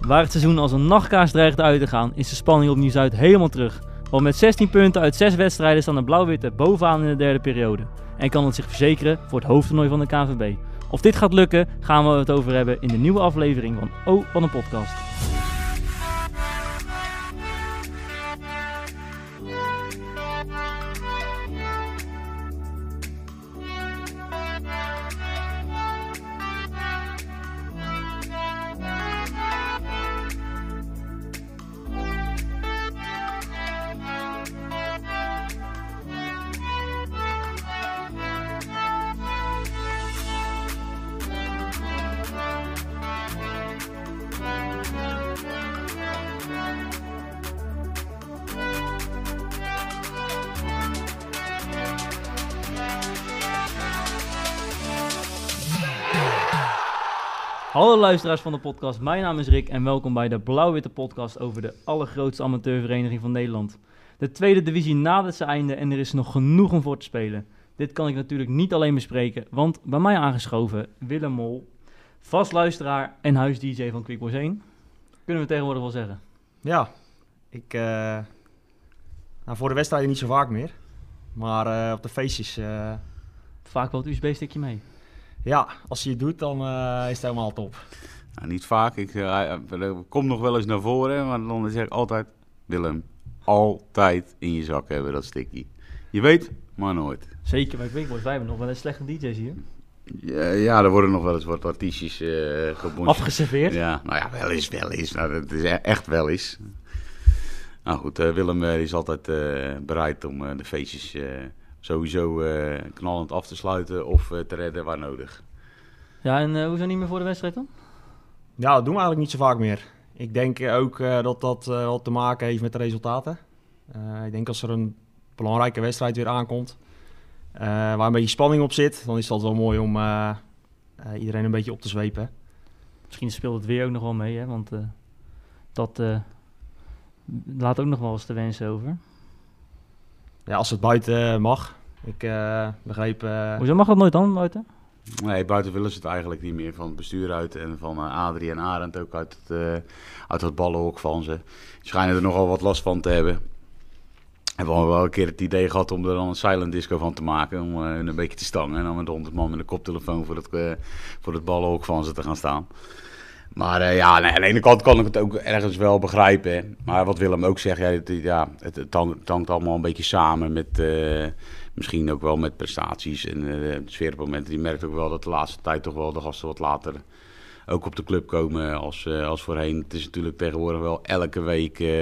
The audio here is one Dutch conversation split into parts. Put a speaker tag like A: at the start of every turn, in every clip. A: Waar het seizoen als een nachtkaars dreigt uit te gaan, is de spanning op Nieuw-Zuid helemaal terug. Want met 16 punten uit 6 wedstrijden staan de Blauw-Witte bovenaan in de derde periode. En kan het zich verzekeren voor het hoofdtoernooi van de KNVB. Of dit gaat lukken, gaan we het over hebben in de nieuwe aflevering van O van een podcast. Hallo luisteraars van de podcast, mijn naam is Rick en welkom bij de Blauw-Witte Podcast over de allergrootste amateurvereniging van Nederland. De tweede divisie nadert zijn einde en er is nog genoeg om voor te spelen. Dit kan ik natuurlijk niet alleen bespreken, want bij mij aangeschoven Willem Mol, vast luisteraar en huis-DJ van Quickboys 1. Kunnen we tegenwoordig wel zeggen.
B: Ja, ik. eh, nou, voor de wedstrijden niet zo vaak meer. Maar eh, op de feestjes. eh,
A: Vaak wel het USB-stickje mee.
B: ja, als je het doet, dan eh, is het helemaal top.
C: Nou, niet vaak. Ik eh, eh, kom nog wel eens naar voren, maar dan zeg ik altijd... Willem, altijd in je zak hebben dat stikkie. Je weet, maar nooit.
A: Zeker bij Quickboys, wij hebben nog wel eens slechte DJ's hier.
C: Ja, ja, er worden nog wel eens wat artiestjes eh gebonst.
A: Afgeserveerd.
C: Ja, nou ja, wel eens, wel eens. Nou, dat is e- echt wel eens. Nou goed, eh, Willem eh, is altijd eh, bereid om eh, de feestjes eh, sowieso eh, knallend af te sluiten of eh, te redden waar nodig.
A: Ja, en eh, hoezo niet meer voor de wedstrijd dan?
B: Ja, dat doen we eigenlijk niet zo vaak meer. Ik denk ook eh, dat dat eh, wat te maken heeft met de resultaten. Eh, ik denk als er een belangrijke wedstrijd weer aankomt. eh, waar een beetje spanning op zit, dan is dat wel mooi om eh, eh, iedereen een beetje op te zwepen.
A: Misschien speelt het weer ook nog wel mee, hè? want eh, dat eh, laat ook nog wel eens te wensen over.
B: Ja, als het buiten eh, mag. Ik eh, begreep. eh,
A: Hoezo mag dat nooit dan, buiten?
C: Nee, buiten willen ze het eigenlijk niet meer. Van het bestuur uit en van eh, Adrie en Arend ook uit het, eh, uit het ballenhok van ze. Schijnen er nogal wat last van te hebben. Hebben we al wel een keer het idee gehad om er dan een silent disco van te maken. Om eh, hun een beetje te stangen. En dan met 100 man met een koptelefoon voor het, eh voor het ballenhok van ze te gaan staan. Maar eh, ja, nee, aan de ene kant kan ik het ook ergens wel begrijpen. hè. Maar wat Willem ook zegt, ja, het, ja, het, het hang- het hangt allemaal een beetje samen met... eh, Misschien ook wel met prestaties en eh, sfeermomenten. Je merkt ook wel dat de laatste tijd toch wel de gasten wat later ook op de club komen als, eh, als voorheen. Het is natuurlijk tegenwoordig wel elke week eh,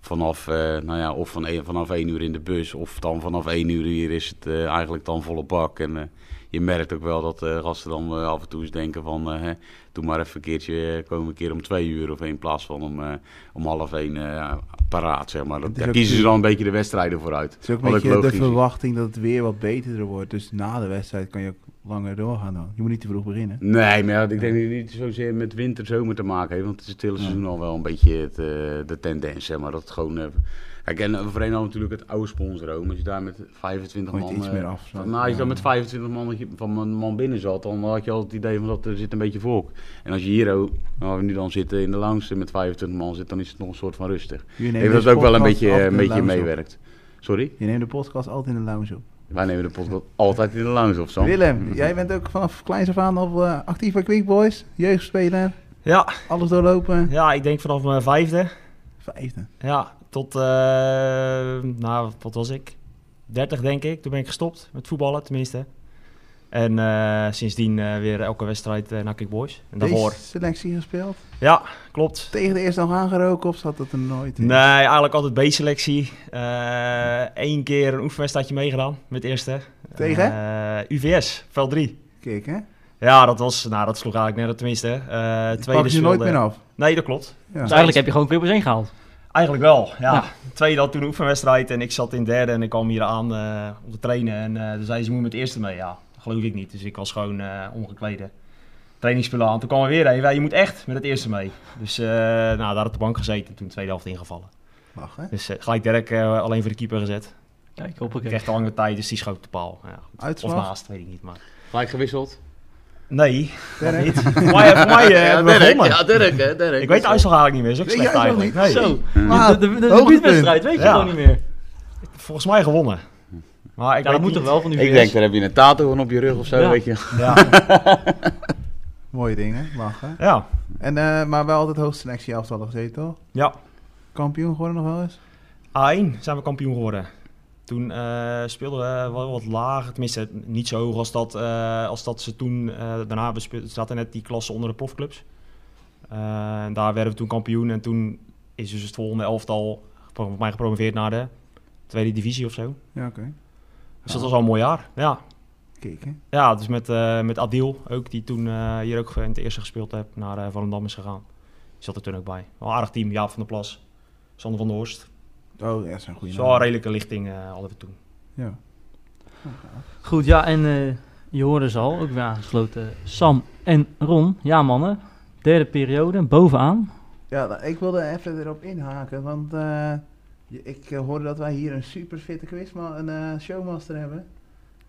C: vanaf, eh, nou ja, of van een- vanaf één uur in de bus of dan vanaf één uur hier is het eh, eigenlijk dan volle bak. En eh, je merkt ook wel dat eh, gasten dan eh, af en toe eens denken van eh, hè, doe maar even een keertje, eh, komen een keer om twee uur of in plaats van om, eh, om half één eh, paraat zeg maar. Dat,
D: Het is
C: daar
D: ook
C: kiezen ze
D: duur.
C: dan een beetje de wedstrijden vooruit.
D: Het is ook
C: Wat
D: een
C: ook
D: beetje de
C: logisch is.
D: verwachting dat het weer wat beter wordt. Dus na de wedstrijd kan je ook langer doorgaan dan. Je moet niet te vroeg beginnen.
C: Nee, maar ja, ik denk dat het niet zozeer met winter-zomer te maken heeft. Want het is het hele seizoen al wel een beetje het, eh, de tendens, zeg maar. Dat het gewoon... eh, kijk, en eh, voorheen al natuurlijk het oude sponsoren. Als je daar met 25
D: Moet je
C: man...
D: iets
C: eh,
D: meer af.
C: van- maar als je dan met 25 man, dat je van een man binnen zat, dan had je al het idee van dat er zit een beetje volk. En als je hier, oh, waar we nu dan zitten, in de lounge met 25 man zit, dan is het nog een soort van rustig.
D: Je
C: Ik
D: neemt
C: denk dat
D: deze
C: het ook wel een
D: podcast
C: beetje,
D: altijd
C: eh,
D: in
C: een
D: de
C: beetje
D: lounge op.
C: meewerkt. Sorry?
D: Je neemt de podcast altijd in de lounge op.
C: Wij nemen de podcast altijd in de lounge of zo.
D: Willem, jij bent ook vanaf kleins af aan al eh, actief bij Quick Boys. Jeugdspeler,
B: ja,
D: alles doorlopen.
B: Ja, ik denk vanaf mijn vijfde.
D: Vijfde.
B: Ja, tot, eh, nou, wat was ik? 30 denk ik. Toen ben ik gestopt met voetballen, tenminste. En eh, sindsdien eh, weer elke wedstrijd eh, naar Kickboys. En daarvoor.
D: Deze selectie gespeeld.
B: Ja, klopt.
D: Tegen de eerste nog aangeroken of zat dat er nooit in?
B: Nee, eigenlijk altijd B-selectie. Eén keer een oefenwedstrijdje meegedaan met de eerste.
D: Tegen?
B: Eh, UVS, veld 3.
D: Kijk hè.
B: Ja, dat was, nou dat sloeg eigenlijk net tenminste. Eh
D: Die
B: tweede
D: pakken ze nooit
B: speelde-
D: meer af.
B: Nee, dat klopt.
A: Dus
D: Ja.
A: eigenlijk heb je gewoon Quibbers 1 gehaald.
B: Eigenlijk wel, ja.
A: Ja.
B: Tweede had toen een oefenwedstrijd en ik zat in derde en ik kwam hier aan eh, om te trainen. En eh toen zei ze, moet met de eerste mee. Ja, dat geloof ik niet. Dus ik was gewoon eh omgekleden. Trainingsspullen aan. Toen kwam er weer een. Ja, je moet echt met het eerste mee. Dus eh, nou, daar op de bank gezeten en toen tweede helft ingevallen.
D: Lachen.
B: Dus eh, gelijk Dirk eh, alleen voor de keeper gezet.
A: Kijk,
B: Ik
A: hoppakee.
B: kreeg de lange tijd, dus die schoot op de paal. Ja, goed. of
D: Uitslag.
B: naast, weet ik niet. Maar
C: Gelijk gewisseld.
B: Nee,
D: Derek?
B: niet. Voor mij, voor mij eh,
C: ja,
B: hebben we
C: Derek,
B: gewonnen.
C: ja, Derek, hè, Derek.
B: Ik weet de uitslag eigenlijk niet meer, is ook
D: Weet
B: slecht
D: jij het nog
B: eigenlijk. Nee.
A: Zo, Ah, de,
D: Maar,
A: de, de, de
D: hoogtepunt.
A: debuutwedstrijd weet je
B: Ja.
A: gewoon niet meer.
B: Volgens mij gewonnen. Maar ik
A: ja, dat
B: weet
A: moet
B: niet.
A: toch wel van die
C: Ik
A: VS?
C: denk, daar heb je een tato van op je rug of zo,
A: Ja.
C: weet je.
B: Ja,
D: Mooie dingen, lachen.
B: ja.
D: En, eh, maar wel altijd hoogste selectie elftal gezeten, toch?
B: ja.
D: Kampioen geworden nog wel eens?
B: A1 zijn we kampioen geworden. Toen eh, speelden we wel wat lager, tenminste niet zo hoog als dat, eh, als dat ze toen... eh, daarna we speel- zaten net die klasse onder de profclubs. Eh, en daar werden we toen kampioen en toen is dus het volgende elftal gepro- voor mij gepromoveerd naar de tweede divisie of zo.
D: Ja, oké.
B: Dus dat was al een mooi jaar, ja.
D: Keken.
B: Ja, dus met, eh, met Adil ook, die toen eh, hier ook in het eerste gespeeld heb, naar eh Volendam is gegaan. Die zat er toen ook bij. Wel een aardig team, Jaap van der Plas, Sander van der Horst.
D: Oh, ja, dat zijn goede
B: Zo wel een redelijke lichting eh, hadden we toen.
D: Ja.
A: Goed, ja, en eh, je hoorde ze al, ook weer aangesloten. Sam en Ron, ja mannen, derde periode, bovenaan.
D: ja, nou, ik wilde even erop inhaken, want eh, je- ik eh, hoorde dat wij hier een super fitte quizman, een eh, showmaster hebben.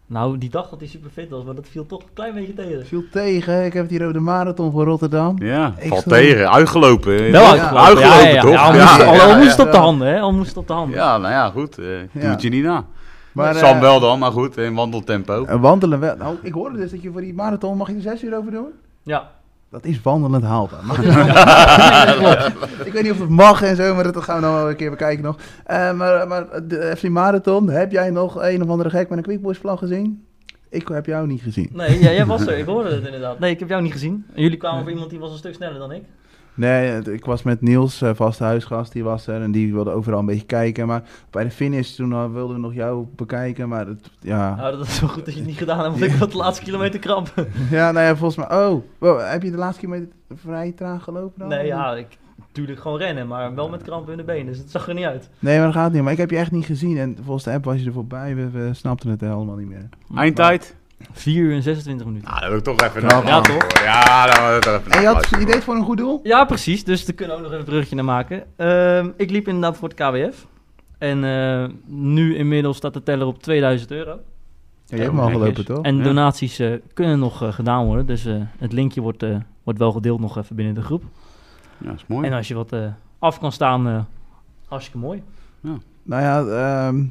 A: Nou, die dag dat hij super fit was, maar dat viel toch een klein beetje tegen.
D: Viel tegen, ik heb het hier over de marathon van Rotterdam.
C: Ja,
D: Ik
C: valt
D: stond-
C: tegen. Uitgelopen.
A: Wel
C: Ja,
A: uitgelopen,
C: uitgelopen,
A: ja, ja, ja.
C: toch?
A: Ja, al
C: Ja,
A: moest-
C: ja,
A: al- al
D: ja,
A: moest het op de
D: ja.
A: handen, hè? Al moest het op de handen.
C: Ja, nou ja, goed. eh ik
D: Ja.
C: Doe het je niet na.
D: Maar, eh,
C: Sam wel dan, maar goed, in wandeltempo.
D: eh, wandelen wel. Nou, ik hoorde dus dat je voor die marathon, mag je er zes uur over doen?
A: Ja.
D: Dat is wandelend haalbaar. Maar- ik weet niet of het mag en zo, maar dat gaan we nog wel een keer bekijken nog. Eh, maar, maar de FC Marathon, heb jij nog een of andere gek met een quickboys-vlag gezien? Ik heb jou niet gezien.
A: Nee, ja, jij was er, ik hoorde het inderdaad. Nee, ik heb jou niet gezien. Jullie kwamen voor iemand die was een stuk sneller dan ik.
D: Nee, het- ik was met Niels, eh, vaste huisgast, die was er en die wilde overal een beetje kijken. Maar bij de finish toen al wilden we nog jou bekijken, maar dat, ja.
A: Nou, dat is wel goed dat je het niet gedaan hebt, want ik had de laatste kilometer kramp.
D: Ja, nou ja, volgens mij. Oh, wow, heb je de laatste keer met vrij traag gelopen dan?
A: Nee, ja, ik natuurlijk gewoon rennen, maar wel met kramp in de benen, dus het zag er niet uit.
D: Nee, maar dat gaat niet. Maar ik heb je echt niet gezien en volgens de app was je er voorbij. We, we snapten het helemaal niet meer.
C: Eindtijd?
A: 4 uur en 26 minuten.
C: Nou, dat wil ik toch even
D: Ja,
C: applaus
A: toch?
C: voor. Ja, dan wil ik toch even
D: En je had
C: applaus
D: je deed
C: voor.
D: het voor een goed doel?
A: Ja, precies. Dus daar kunnen we ook nog even een bruggetje naar maken. Ehm, ik liep inderdaad voor het KWF. En eh, nu inmiddels staat de teller op 2000 euro.
D: Ja, je hebt hem al
C: netjes.
D: gelopen, toch?
A: En
C: Ja.
A: donaties eh, kunnen nog eh, gedaan worden. Dus eh, het linkje wordt, eh, wordt wel gedeeld nog even binnen de groep.
C: Ja, is mooi.
A: En als je wat eh, af kan staan, eh hartstikke mooi.
D: Nou ja, ehm,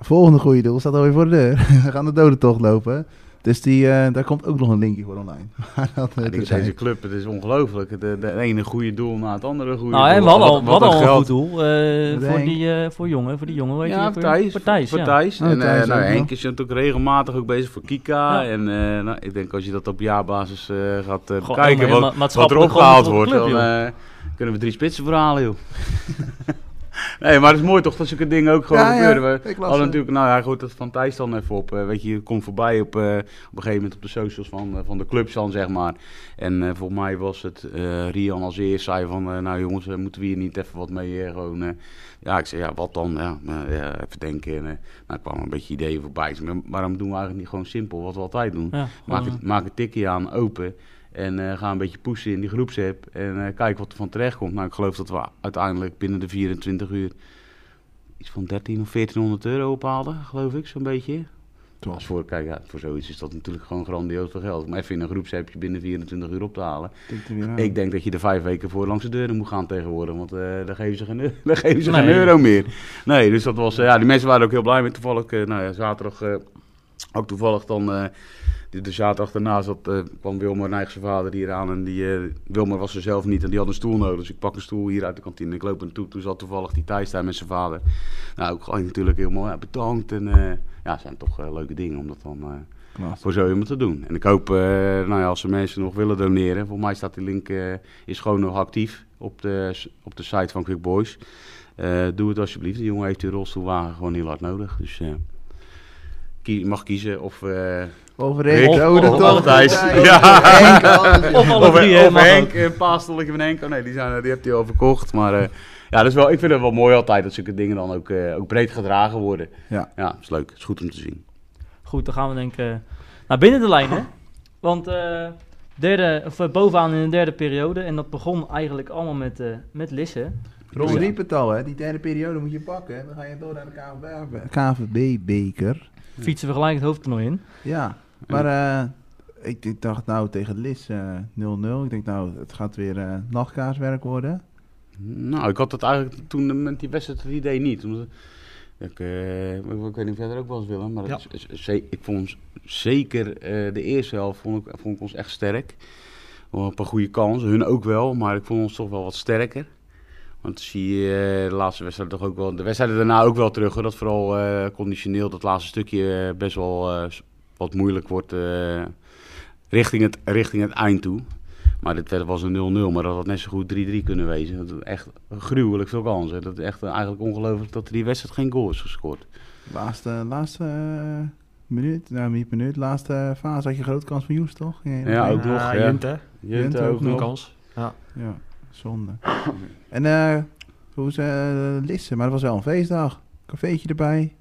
D: volgende goede doel staat alweer voor de deur. We gaan de dodentocht lopen. Dus die, eh, daar komt ook nog een linkje voor online. Maar dat, eh,
C: Ja,
D: dat-
C: dit- deze club, het is ongelooflijk. De, de ene goede doel na het andere goede
A: nou,
C: doel.
A: en we hadden al,
C: Wat-
A: we
C: wat
A: hadden al een
C: geld.
A: goed doel. eh,
D: Wat
A: voor,
D: denk-
A: die, eh, voor jongen, voor die jongen. Weet
C: Ja,
A: je,
C: voor
A: voor
C: Thijs.
A: Voor Thijs,
C: Voor
A: ja.
C: Thijs.
D: Oh,
C: en eh,
D: Thijs
C: nou,
D: ook nog.
C: Henk is natuurlijk regelmatig ook bezig voor Kika.
A: Ja.
C: En eh, nou, ik denk als je dat op jaarbasis eh, gaat eh,
A: Gewoon
C: bekijken,
A: helemaal
C: wat, wat er
A: maatschappelijk
C: opgehaald
A: gewoon
C: wordt,
A: voor de
C: dan
A: club,
C: eh, kunnen we drie spitsen verhalen, joh. nee, maar het is mooi toch dat zulke dingen ook gewoon
D: Ja, ja,
C: gebeuren. We
D: ik las
C: hadden
D: het.
C: natuurlijk, nou ja, goed, dat van Thijs dan even op. eh, weet je, je komt voorbij op, eh, op een gegeven moment op de socials van, eh, van de clubs dan, zeg maar. En eh volgens mij was het eh, Rian als eerst zei van, eh, nou jongens, eh, moeten we hier niet even wat mee eh, gewoon... eh, ja, ik zei, ja, wat dan? Ja, nou, ja, even denken. En, eh, nou, kwam een beetje ideeën voorbij. Ik zei, maar waarom doen we eigenlijk niet gewoon simpel wat we altijd doen?
A: Ja,
C: Maak,
A: gewoon,
C: het, maak een tikkie aan, open. En eh, ga een beetje pushen in die groepsapp. En eh, kijk wat er van terecht komt. Nou, ik geloof dat we uiteindelijk binnen de 24 uur... iets van 13 of 1400 euro ophaalden, geloof ik, zo'n beetje.
D: Top.
C: Als voor, kijk, ja, voor zoiets is dat natuurlijk gewoon grandioos veel geld. Maar even in een groepsappje binnen 24 uur op te halen.
D: Tikt er weer aan.
C: Ik denk dat je er vijf weken voor langs de deuren moet gaan tegenwoordig. Want eh daar geven ze geen, eu- daar geven ze geen
A: Nee.
C: euro meer. Nee, dus dat was... eh, ja, die mensen waren ook heel blij met toevallig... eh, nou ja, zaterdag... eh, ook toevallig dan... eh, de, de zaterdag daarna zat, eh, kwam Wilmer, eigen zijn vader, hier aan. En die, eh, Wilmer was er zelf niet en die had een stoel nodig. Dus ik pak een stoel hier uit de kantine. Ik loop naartoe. Toen zat toevallig die Thijs daar met zijn vader. Nou, ook gewoon natuurlijk heel mooi. ja, bedankt. En eh, ja, het zijn toch eh, leuke dingen om dat dan... eh,
D: Klas.
C: voor zo iemand te doen. En ik hoop, eh, nou ja, als er mensen nog willen doneren, voor mij staat die link eh, is gewoon nog actief op de, s- op de site van Quick Boys. Eh, doe het alsjeblieft. De jongen heeft die rolstoelwagen gewoon heel hard nodig. Dus eh, kie- je mag kiezen of eh,
D: Over Rick,
C: Rick, oh,
D: dodentocht.
A: of alle Thijs.
C: Ja.
D: Henk, alles.
A: Of alle
C: of,
A: drie,
C: of
A: hè, mag ook.
C: Henk, een paastolkje van Henk. Oh nee, die, zijn, eh, die hebt hij al verkocht. Maar eh, ja, dat is wel, ik vind het wel mooi altijd dat zulke dingen dan ook, eh, ook breed gedragen worden.
D: Ja.
C: ja, is leuk. is goed om te zien.
A: Goed, dan gaan we denk ik eh, naar binnen de lijn, hè? Want eh, derde, of, eh, bovenaan in de derde periode. En dat begon eigenlijk allemaal met, eh, met Lisse.
D: Ron
C: Ja.
D: riep het al, hè. Die derde periode moet je pakken. Dan ga je door naar de KVB-beker.
A: Fietsen we gelijk het hoofdtoernooi in.
D: Ja, maar eh, ik, ik dacht nou tegen Lis eh, 0-0. Ik denk nou, het gaat weer eh, nachtkaaswerk worden.
C: Nou, ik had dat eigenlijk toen met die wedstrijd het idee niet. Omdat ik, eh, ik, ik weet niet of jij dat ook wel eens wil, hè, maar het is- is- ze- ik vond ons zeker eh, de eerste helft vond ik, vond ik ons echt sterk. We hadden een paar goede kansen, hun ook wel, maar ik vond ons toch wel wat sterker. Want zie je eh, de laatste wedstrijd toch ook wel, de wedstrijden daarna ook wel terug. Hoor, dat vooral eh, conditioneel dat laatste stukje eh, best wel eh, s- wat moeilijk wordt eh, richting, het, richting het eind toe. Maar dit werd- was een 0-0, maar dat had net zo goed 3-3 kunnen wezen. Dat is echt gruwelijk veel kansen. Dat is echt eh, eigenlijk ongelooflijk dat er die wedstrijd geen goal is gescoord.
D: Laatste, laatste eh, minuut, nou niet minuut, laatste fase had je een grote kans van Joes, toch? Ging je-
C: Ja, ook
B: Eh,
C: nog, ja.
B: Jente,
D: Jente ook
B: een
D: nog.
B: kans.
D: Ja, zonde. en eh, hoe ze eh, Lisse, maar dat was wel een feestdag. Cafeetje erbij.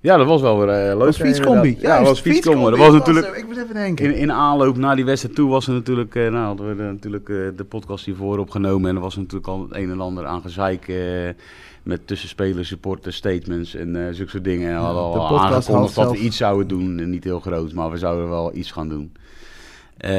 C: Ja, dat was wel weer eh, leuk.
D: Dat was fietscombi.
C: inderdaad. Ja, dat was fietscombi. Dat was natuurlijk...
D: Ik moest even denken.
C: In, in aanloop naar die wedstrijd toe was er natuurlijk, eh, nou, hadden we er natuurlijk eh, de podcast hiervoor opgenomen. En er was natuurlijk al het een en ander aan gezeik eh, met tussenspelers, supporters, statements en eh zulke soort dingen. En we hadden
D: Ja, de
C: al
D: podcast
C: aangekondigd
D: had
C: dat we
D: zelf-
C: iets zouden doen. En Niet heel groot, maar we zouden wel iets gaan doen. Eh,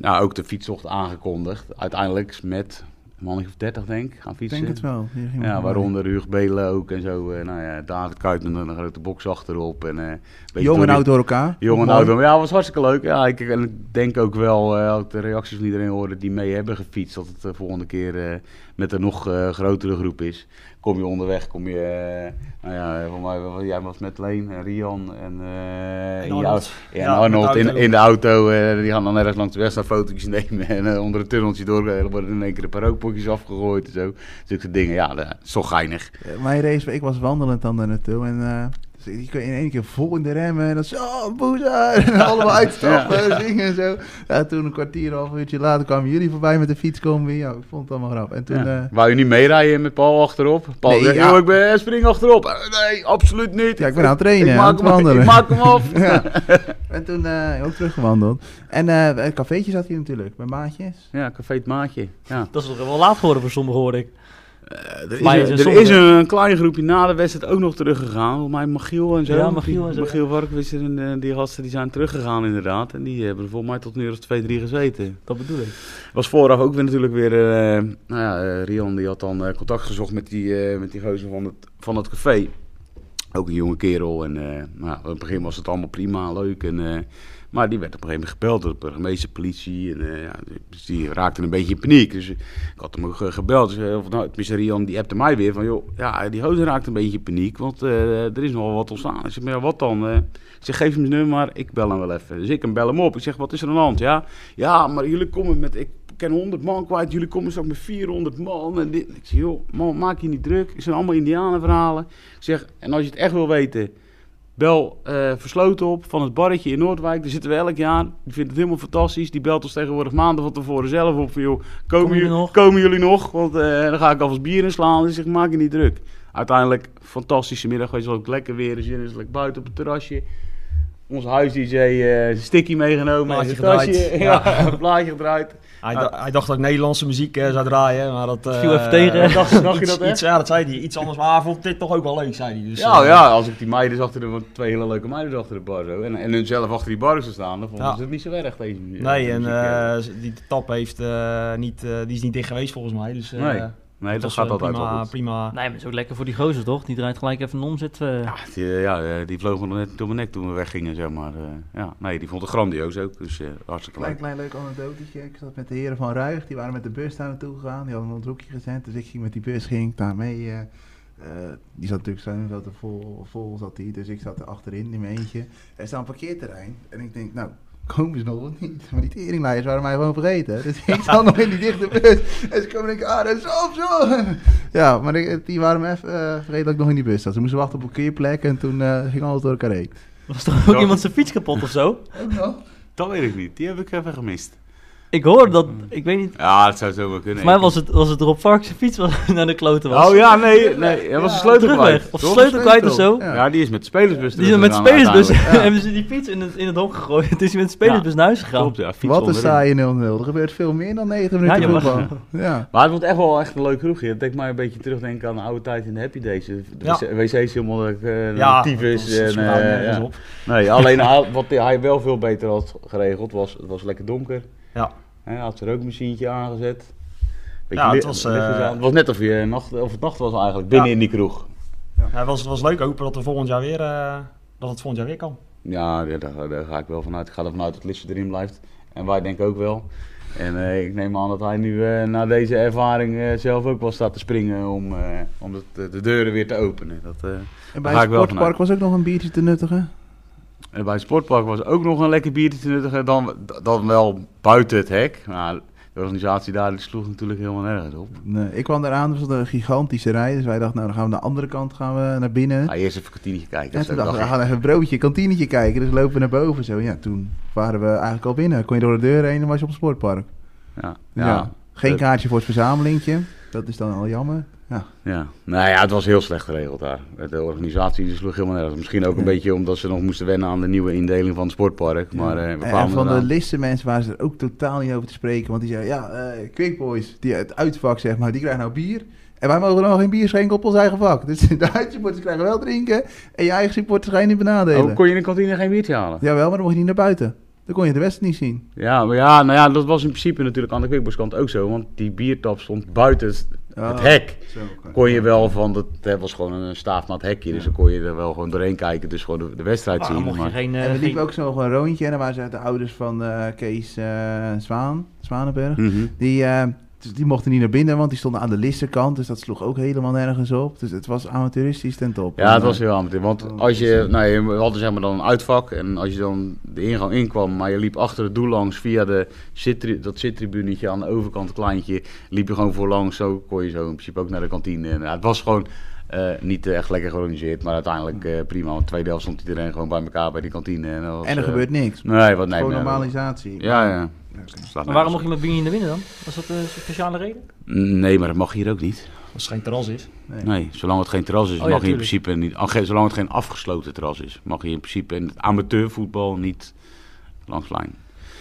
C: nou, ook de fietsocht aangekondigd. Uiteindelijk met een mannetje of 30 denk ik, gaan
D: ik
C: fietsen.
D: denk het wel. Hier ging
C: Ja,
D: het
C: waaronder Huug Belen ook en zo. eh, nou ja, David Kuiten met een grote box achterop. En, eh, een beetje
D: Jong
C: door
D: en
C: die-
D: oud door elkaar.
C: Jong en
D: Mooi.
C: oud. Ja, het was hartstikke leuk. Ja, ik, en ik denk ook wel, eh, ook de reacties van iedereen horen die mee hebben gefietst, dat het de volgende keer eh, met een nog eh, grotere groep is. Kom je onderweg, kom je, eh, nou ja, voor mij, wel- jij was met Leen en Rian en, eh, in je
B: Arnold.
C: auto- ja, en
B: Ja,
C: Arnold
B: met de
C: in,
B: auto.
C: in de auto. eh, die gaan dan ergens langs de weg naar fotootjes nemen en eh, onder een tunneltje door. eh, Er worden in één keer een paar rookpotjes afgegooid en zo. Zulke dingen, ja, dat is toch geinig.
D: Eh, Mijn race, ik was wandelend dan daar naartoe en... eh, dus ik kon in één keer vol in de remmen en dan zo, boezer, en allemaal uitstappen, zingen en zo. Ja, toen een kwartier, half uurtje later kwamen jullie voorbij met de fietscombi. Ja, ik vond het allemaal grappig. En toen,
C: Ja.
D: ja,
C: Wou je niet meerijden met Paul achterop? Paul
D: Nee,
C: zegt,
D: ja.
C: "Yo, ik ben, spring achterop. Eh, Nee, absoluut niet.
D: ja ik ben aan het trainen,
C: ik,
D: aan
C: maak
D: het
C: hem,
D: wandelen.
C: ik maak hem af.
D: Ja. eh, En toen eh, ook teruggewandeld. En eh een cafeetje zat hier natuurlijk, bij maatjes.
C: Ja, café het maatje. Ja.
A: Dat is toch wel laat geworden voor sommigen, hoorde ik.
C: Er is,
A: Maar
C: een-
A: is het
C: er
A: zonde?
C: is een eh, klein groepje na de wedstrijd ook nog teruggegaan. Volgens mij Magiel en zo.
A: Ja, Magiel en zo.
C: Magiel Warkwitser en eh, die gasten die zijn teruggegaan inderdaad. En die hebben er volgens mij tot nu als twee, drie gezeten.
A: Dat bedoel ik.
C: Was vooraf ook weer natuurlijk weer... eh, nou ja, eh, Rian die had dan eh, contact gezocht met die, eh, met die gozer van het, van het café. Ook een jonge kerel. En eh, nou, in het begin was het allemaal prima, leuk. En, eh, maar die werd op een gegeven moment gebeld door de burgemeesterpolitie. En eh, ja, dus die raakte een beetje in paniek. Dus ik had hem ook eh, gebeld. Dus, eh, of, nou, tenminste, Rian die appte mij weer van... joh, ja, die hozer raakt een beetje in paniek, want eh, er is nogal wat ontstaan. Ik zeg, maar ja, wat dan? Eh, ik zeg, geef hem zijn nummer, maar ik bel hem wel even. Dus ik hem bel hem op. Ik zeg, wat is er aan de hand? Ja, ja maar jullie komen met... Ik ken 100 man kwijt, jullie komen straks met 400 man. En dit. Ik zeg, joh, man, maak je niet druk. Het zijn allemaal indianenverhalen. Ik zeg, en als je het echt wil weten... Bel eh, Versloten op van het barretje in Noordwijk. Daar zitten we elk jaar. Die vindt het helemaal fantastisch. Die belt ons tegenwoordig maanden van tevoren zelf op. Van, joh, komen,
A: jullie
C: jullie
A: nog?
C: nog? komen jullie nog? Want eh, dan ga ik alvast bier inslaan. Dus ik zeg, maak je niet druk. Uiteindelijk, fantastische middag. Het was ook lekker weer. Dus zin is lekker buiten op het terrasje. Onze huis-dj eh sticky meegenomen.
B: Plaatje
C: en zijn tasje.
B: gedraaid.
C: Ja, plaatje gedraaid.
B: Hij, da- hij dacht dat ik Nederlandse muziek eh, zou draaien, maar dat... eh,
A: Viel even tegen.
B: dacht,
C: Dacht je
B: iets-
C: dat, hè?
B: iets- Ja, dat zei hij. Iets anders, maar hij vond dit toch ook wel leuk, zei hij. Dus,
C: ja,
B: eh,
C: ja, als ik die meiden achter de, want twee hele leuke meiden achter de bar zo. En, en hun zelf achter die bar zo staan, dan vonden
B: Ja.
C: ze het niet zo erg deze muziek.
B: Nee, en
C: muziek, ja.
B: eh, die tap heeft, eh, niet, eh, die is niet dicht geweest volgens mij. Dus, eh, dat
C: Nee, nee, dat
B: was, eh,
C: gaat altijd
B: prima,
C: wel goed.
B: prima.
A: Nee, maar het is ook lekker voor die gozer, toch? Die draait gelijk even een omzet. eh.
C: Ja, die, eh, ja, eh, die vloog me nog net door mijn nek toen we weggingen, zeg maar. eh, ja, nee, die vond het grandioos ook, dus eh, hartstikke
D: Klein,
C: leuk.
D: klein leuk anekdotetje. Ik zat met de heren van Ruig, die waren met de bus daar naartoe gegaan. Die hadden ons hoekje gezet, dus ik ging met die bus ging ik daar mee. eh, eh, die zat natuurlijk zo zat er vol, vol zat die, dus ik zat er achterin in mijn eentje. Er staat een parkeerterrein en ik denk, nou, komen ze nog of niet? Maar die teringleiders waren mij gewoon vergeten. Dus ik zat nog in die dichte bus en ze komen en ik, ah, dat is op zo. Ja, maar ik- die waren me even eh, vergeten dat ik nog in die bus zat. Ze moesten wachten op een parkeerplek en toen eh, ging alles door elkaar heen.
A: Was toch ook iemand zijn fiets kapot of zo?
D: Ook nog?
C: Dat weet ik niet, die heb ik even gemist.
A: Ik hoor dat, ik weet niet,
C: Ja, dat zou zo wel kunnen.
A: voor mij was het, was het Rob Varkens zijn fiets was, naar de kloten was.
C: Oh ja, nee, nee. Hij was een
D: Ja,
C: sleutel
A: Terugweg,
C: kwijt.
A: of
C: toch?
A: sleutel kwijt of zo.
D: Ja.
C: Ja, die is met de spelersbus
A: Die zijn met
C: terug gegaan
A: spelersbus,
C: uiteindelijk.
D: Ja.
A: hebben ze die fiets in het, in het hok gegooid. Het is hij met de spelersbus naar huis gegaan.
C: Klopt, ja. fiets
D: Wat een
C: onderin.
D: saaie 0-0. Er gebeurt veel meer dan 9 minuten
A: Ja, je
D: ja,
A: mag-
D: voetbal. Ja.
C: Maar het wordt echt wel echt een leuk kroegje. Dat deed mij een beetje terugdenken aan de oude tijd in de Happy Days. De
B: Ja.
C: wc- wc's helemaal eh
B: Ja,
C: tyfus.
B: dat is- dat is
C: en,
B: verhaal,
C: eh,
B: eh, is
C: ja.
B: op.
C: Nee, alleen hij- wat hij wel veel beter had geregeld was, het was lekker donker.
B: Ja.
C: Hè, Hij had zijn rookmachientje aangezet.
B: Ja, het
C: li-
B: was,
C: lichtjes
B: eh,
C: aan. het was net of, je nacht, of het nacht was eigenlijk, binnen
B: Ja.
C: in die kroeg.
B: Ja, het was, het was leuk, hopen dat, er volgend jaar weer, eh, dat het volgend jaar weer kan.
C: Ja, ja, daar, daar ga ik wel vanuit. Ik ga ervan uit dat Lisse erin blijft. En wij denk ik ook wel. En eh, ik neem aan dat hij nu eh, na deze ervaring eh, zelf ook wel staat te springen om, eh, om dat, eh, de deuren weer te openen. Dat, eh,
D: En
C: Daar
D: bij
C: ga
D: het
C: ik wel
D: sportpark was ook nog een biertje te nuttigen.
C: En bij het sportpark was ook nog een lekker biertje te nuttigen. Dan, dan wel buiten het hek. Maar de organisatie daar die sloeg natuurlijk helemaal nergens op.
D: Nee, ik kwam eraan, er was een gigantische rij. Dus wij dachten, nou dan gaan we naar de andere kant gaan we naar binnen.
C: Ga eerst even een kwartiertje kijken.
D: En
C: Dat
D: toen
C: is ook
D: dachten we, we
C: wel
D: gaan even een broodje, kantinetje kijken. Dus lopen we naar boven zo. Ja, toen waren we eigenlijk al binnen. Kon je door de deur heen en was je op het sportpark.
C: gek. Ja,
D: Ja.
C: ja.
D: Geen
C: Dat-
D: kaartje voor het verzamelingetje. Dat is dan al jammer.
C: ja. Nou ja, het was heel slecht geregeld daar. De organisatie die sloeg helemaal nergens op. Misschien ook een
D: Nee.
C: beetje omdat ze nog moesten wennen aan de nieuwe indeling van het sportpark. Maar eh, we
D: En-
C: kwamen
D: en van de
C: eraan.
D: liste mensen waren ze er ook totaal niet over te spreken. Want die zeiden, ja, eh Quick Boys, die, het uitvak zeg maar, die krijgen nou bier. En wij mogen nog geen bier schenken op ons eigen vak. Dus de Duitse supporters krijgen wel drinken. En je eigen supporters ga je niet benadelen.
C: Oh, kon je in de kantine geen biertje halen?
D: Jawel, maar dan mocht je niet naar buiten. Dan kon je de rest niet zien.
C: Ja, maar ja, nou ja, dat was in principe natuurlijk aan de kwikboskant ook zo. Want die biertap stond buiten het, het
A: Ah.
D: Oh,
C: hek.
D: zo, oké.
C: kon je wel van, dat het was gewoon een staaf naar het hekje, dus dan kon je er wel gewoon doorheen kijken, dus gewoon de, de wedstrijd
A: Ah,
C: zien.
A: mocht je
C: maar-
A: geen, eh,
D: En we
A: geen-
D: liepen ook zo nog een rondje. En dan waren ze de ouders van eh, Kees eh, Zwaan, Zwanenburg.
C: Mhm.
D: Die, eh, dus die mochten niet naar binnen, want die stonden aan de listenkant. Dus dat sloeg ook helemaal nergens op. Dus het was amateuristisch ten top.
C: Ja, het
D: En,
C: was
D: eh,
C: heel amateur, want als je, nou, je hadden zeg maar dan een uitvak en als je dan de ingang inkwam, maar je liep achter het doel langs via de zitri- dat zittribunetje aan de overkant, een kleintje, liep je gewoon voorlangs, zo kon je zo in principe ook naar de kantine. En, ja, het was gewoon eh, niet eh, echt lekker georganiseerd, maar uiteindelijk eh, prima, want tweede helft stond iedereen gewoon bij elkaar bij die kantine. En, dat was,
D: En er
C: eh,
D: gebeurt niks.
C: Nee, wat nee.
D: Gewoon
C: nee,
D: normalisatie.
C: Ja, ja.
A: Maar waarom mocht je met bier niet naar binnen dan? Was dat eh, een speciale reden?
C: Nee, maar dat mag hier ook niet.
B: Als het geen terras is.
C: Nee, zolang het geen terras is,
A: ja,
C: mag je in
A: tuurlijk.
C: principe niet. ah, ge- Zolang het geen afgesloten terras is, mag je in principe in het amateurvoetbal niet langs lijn.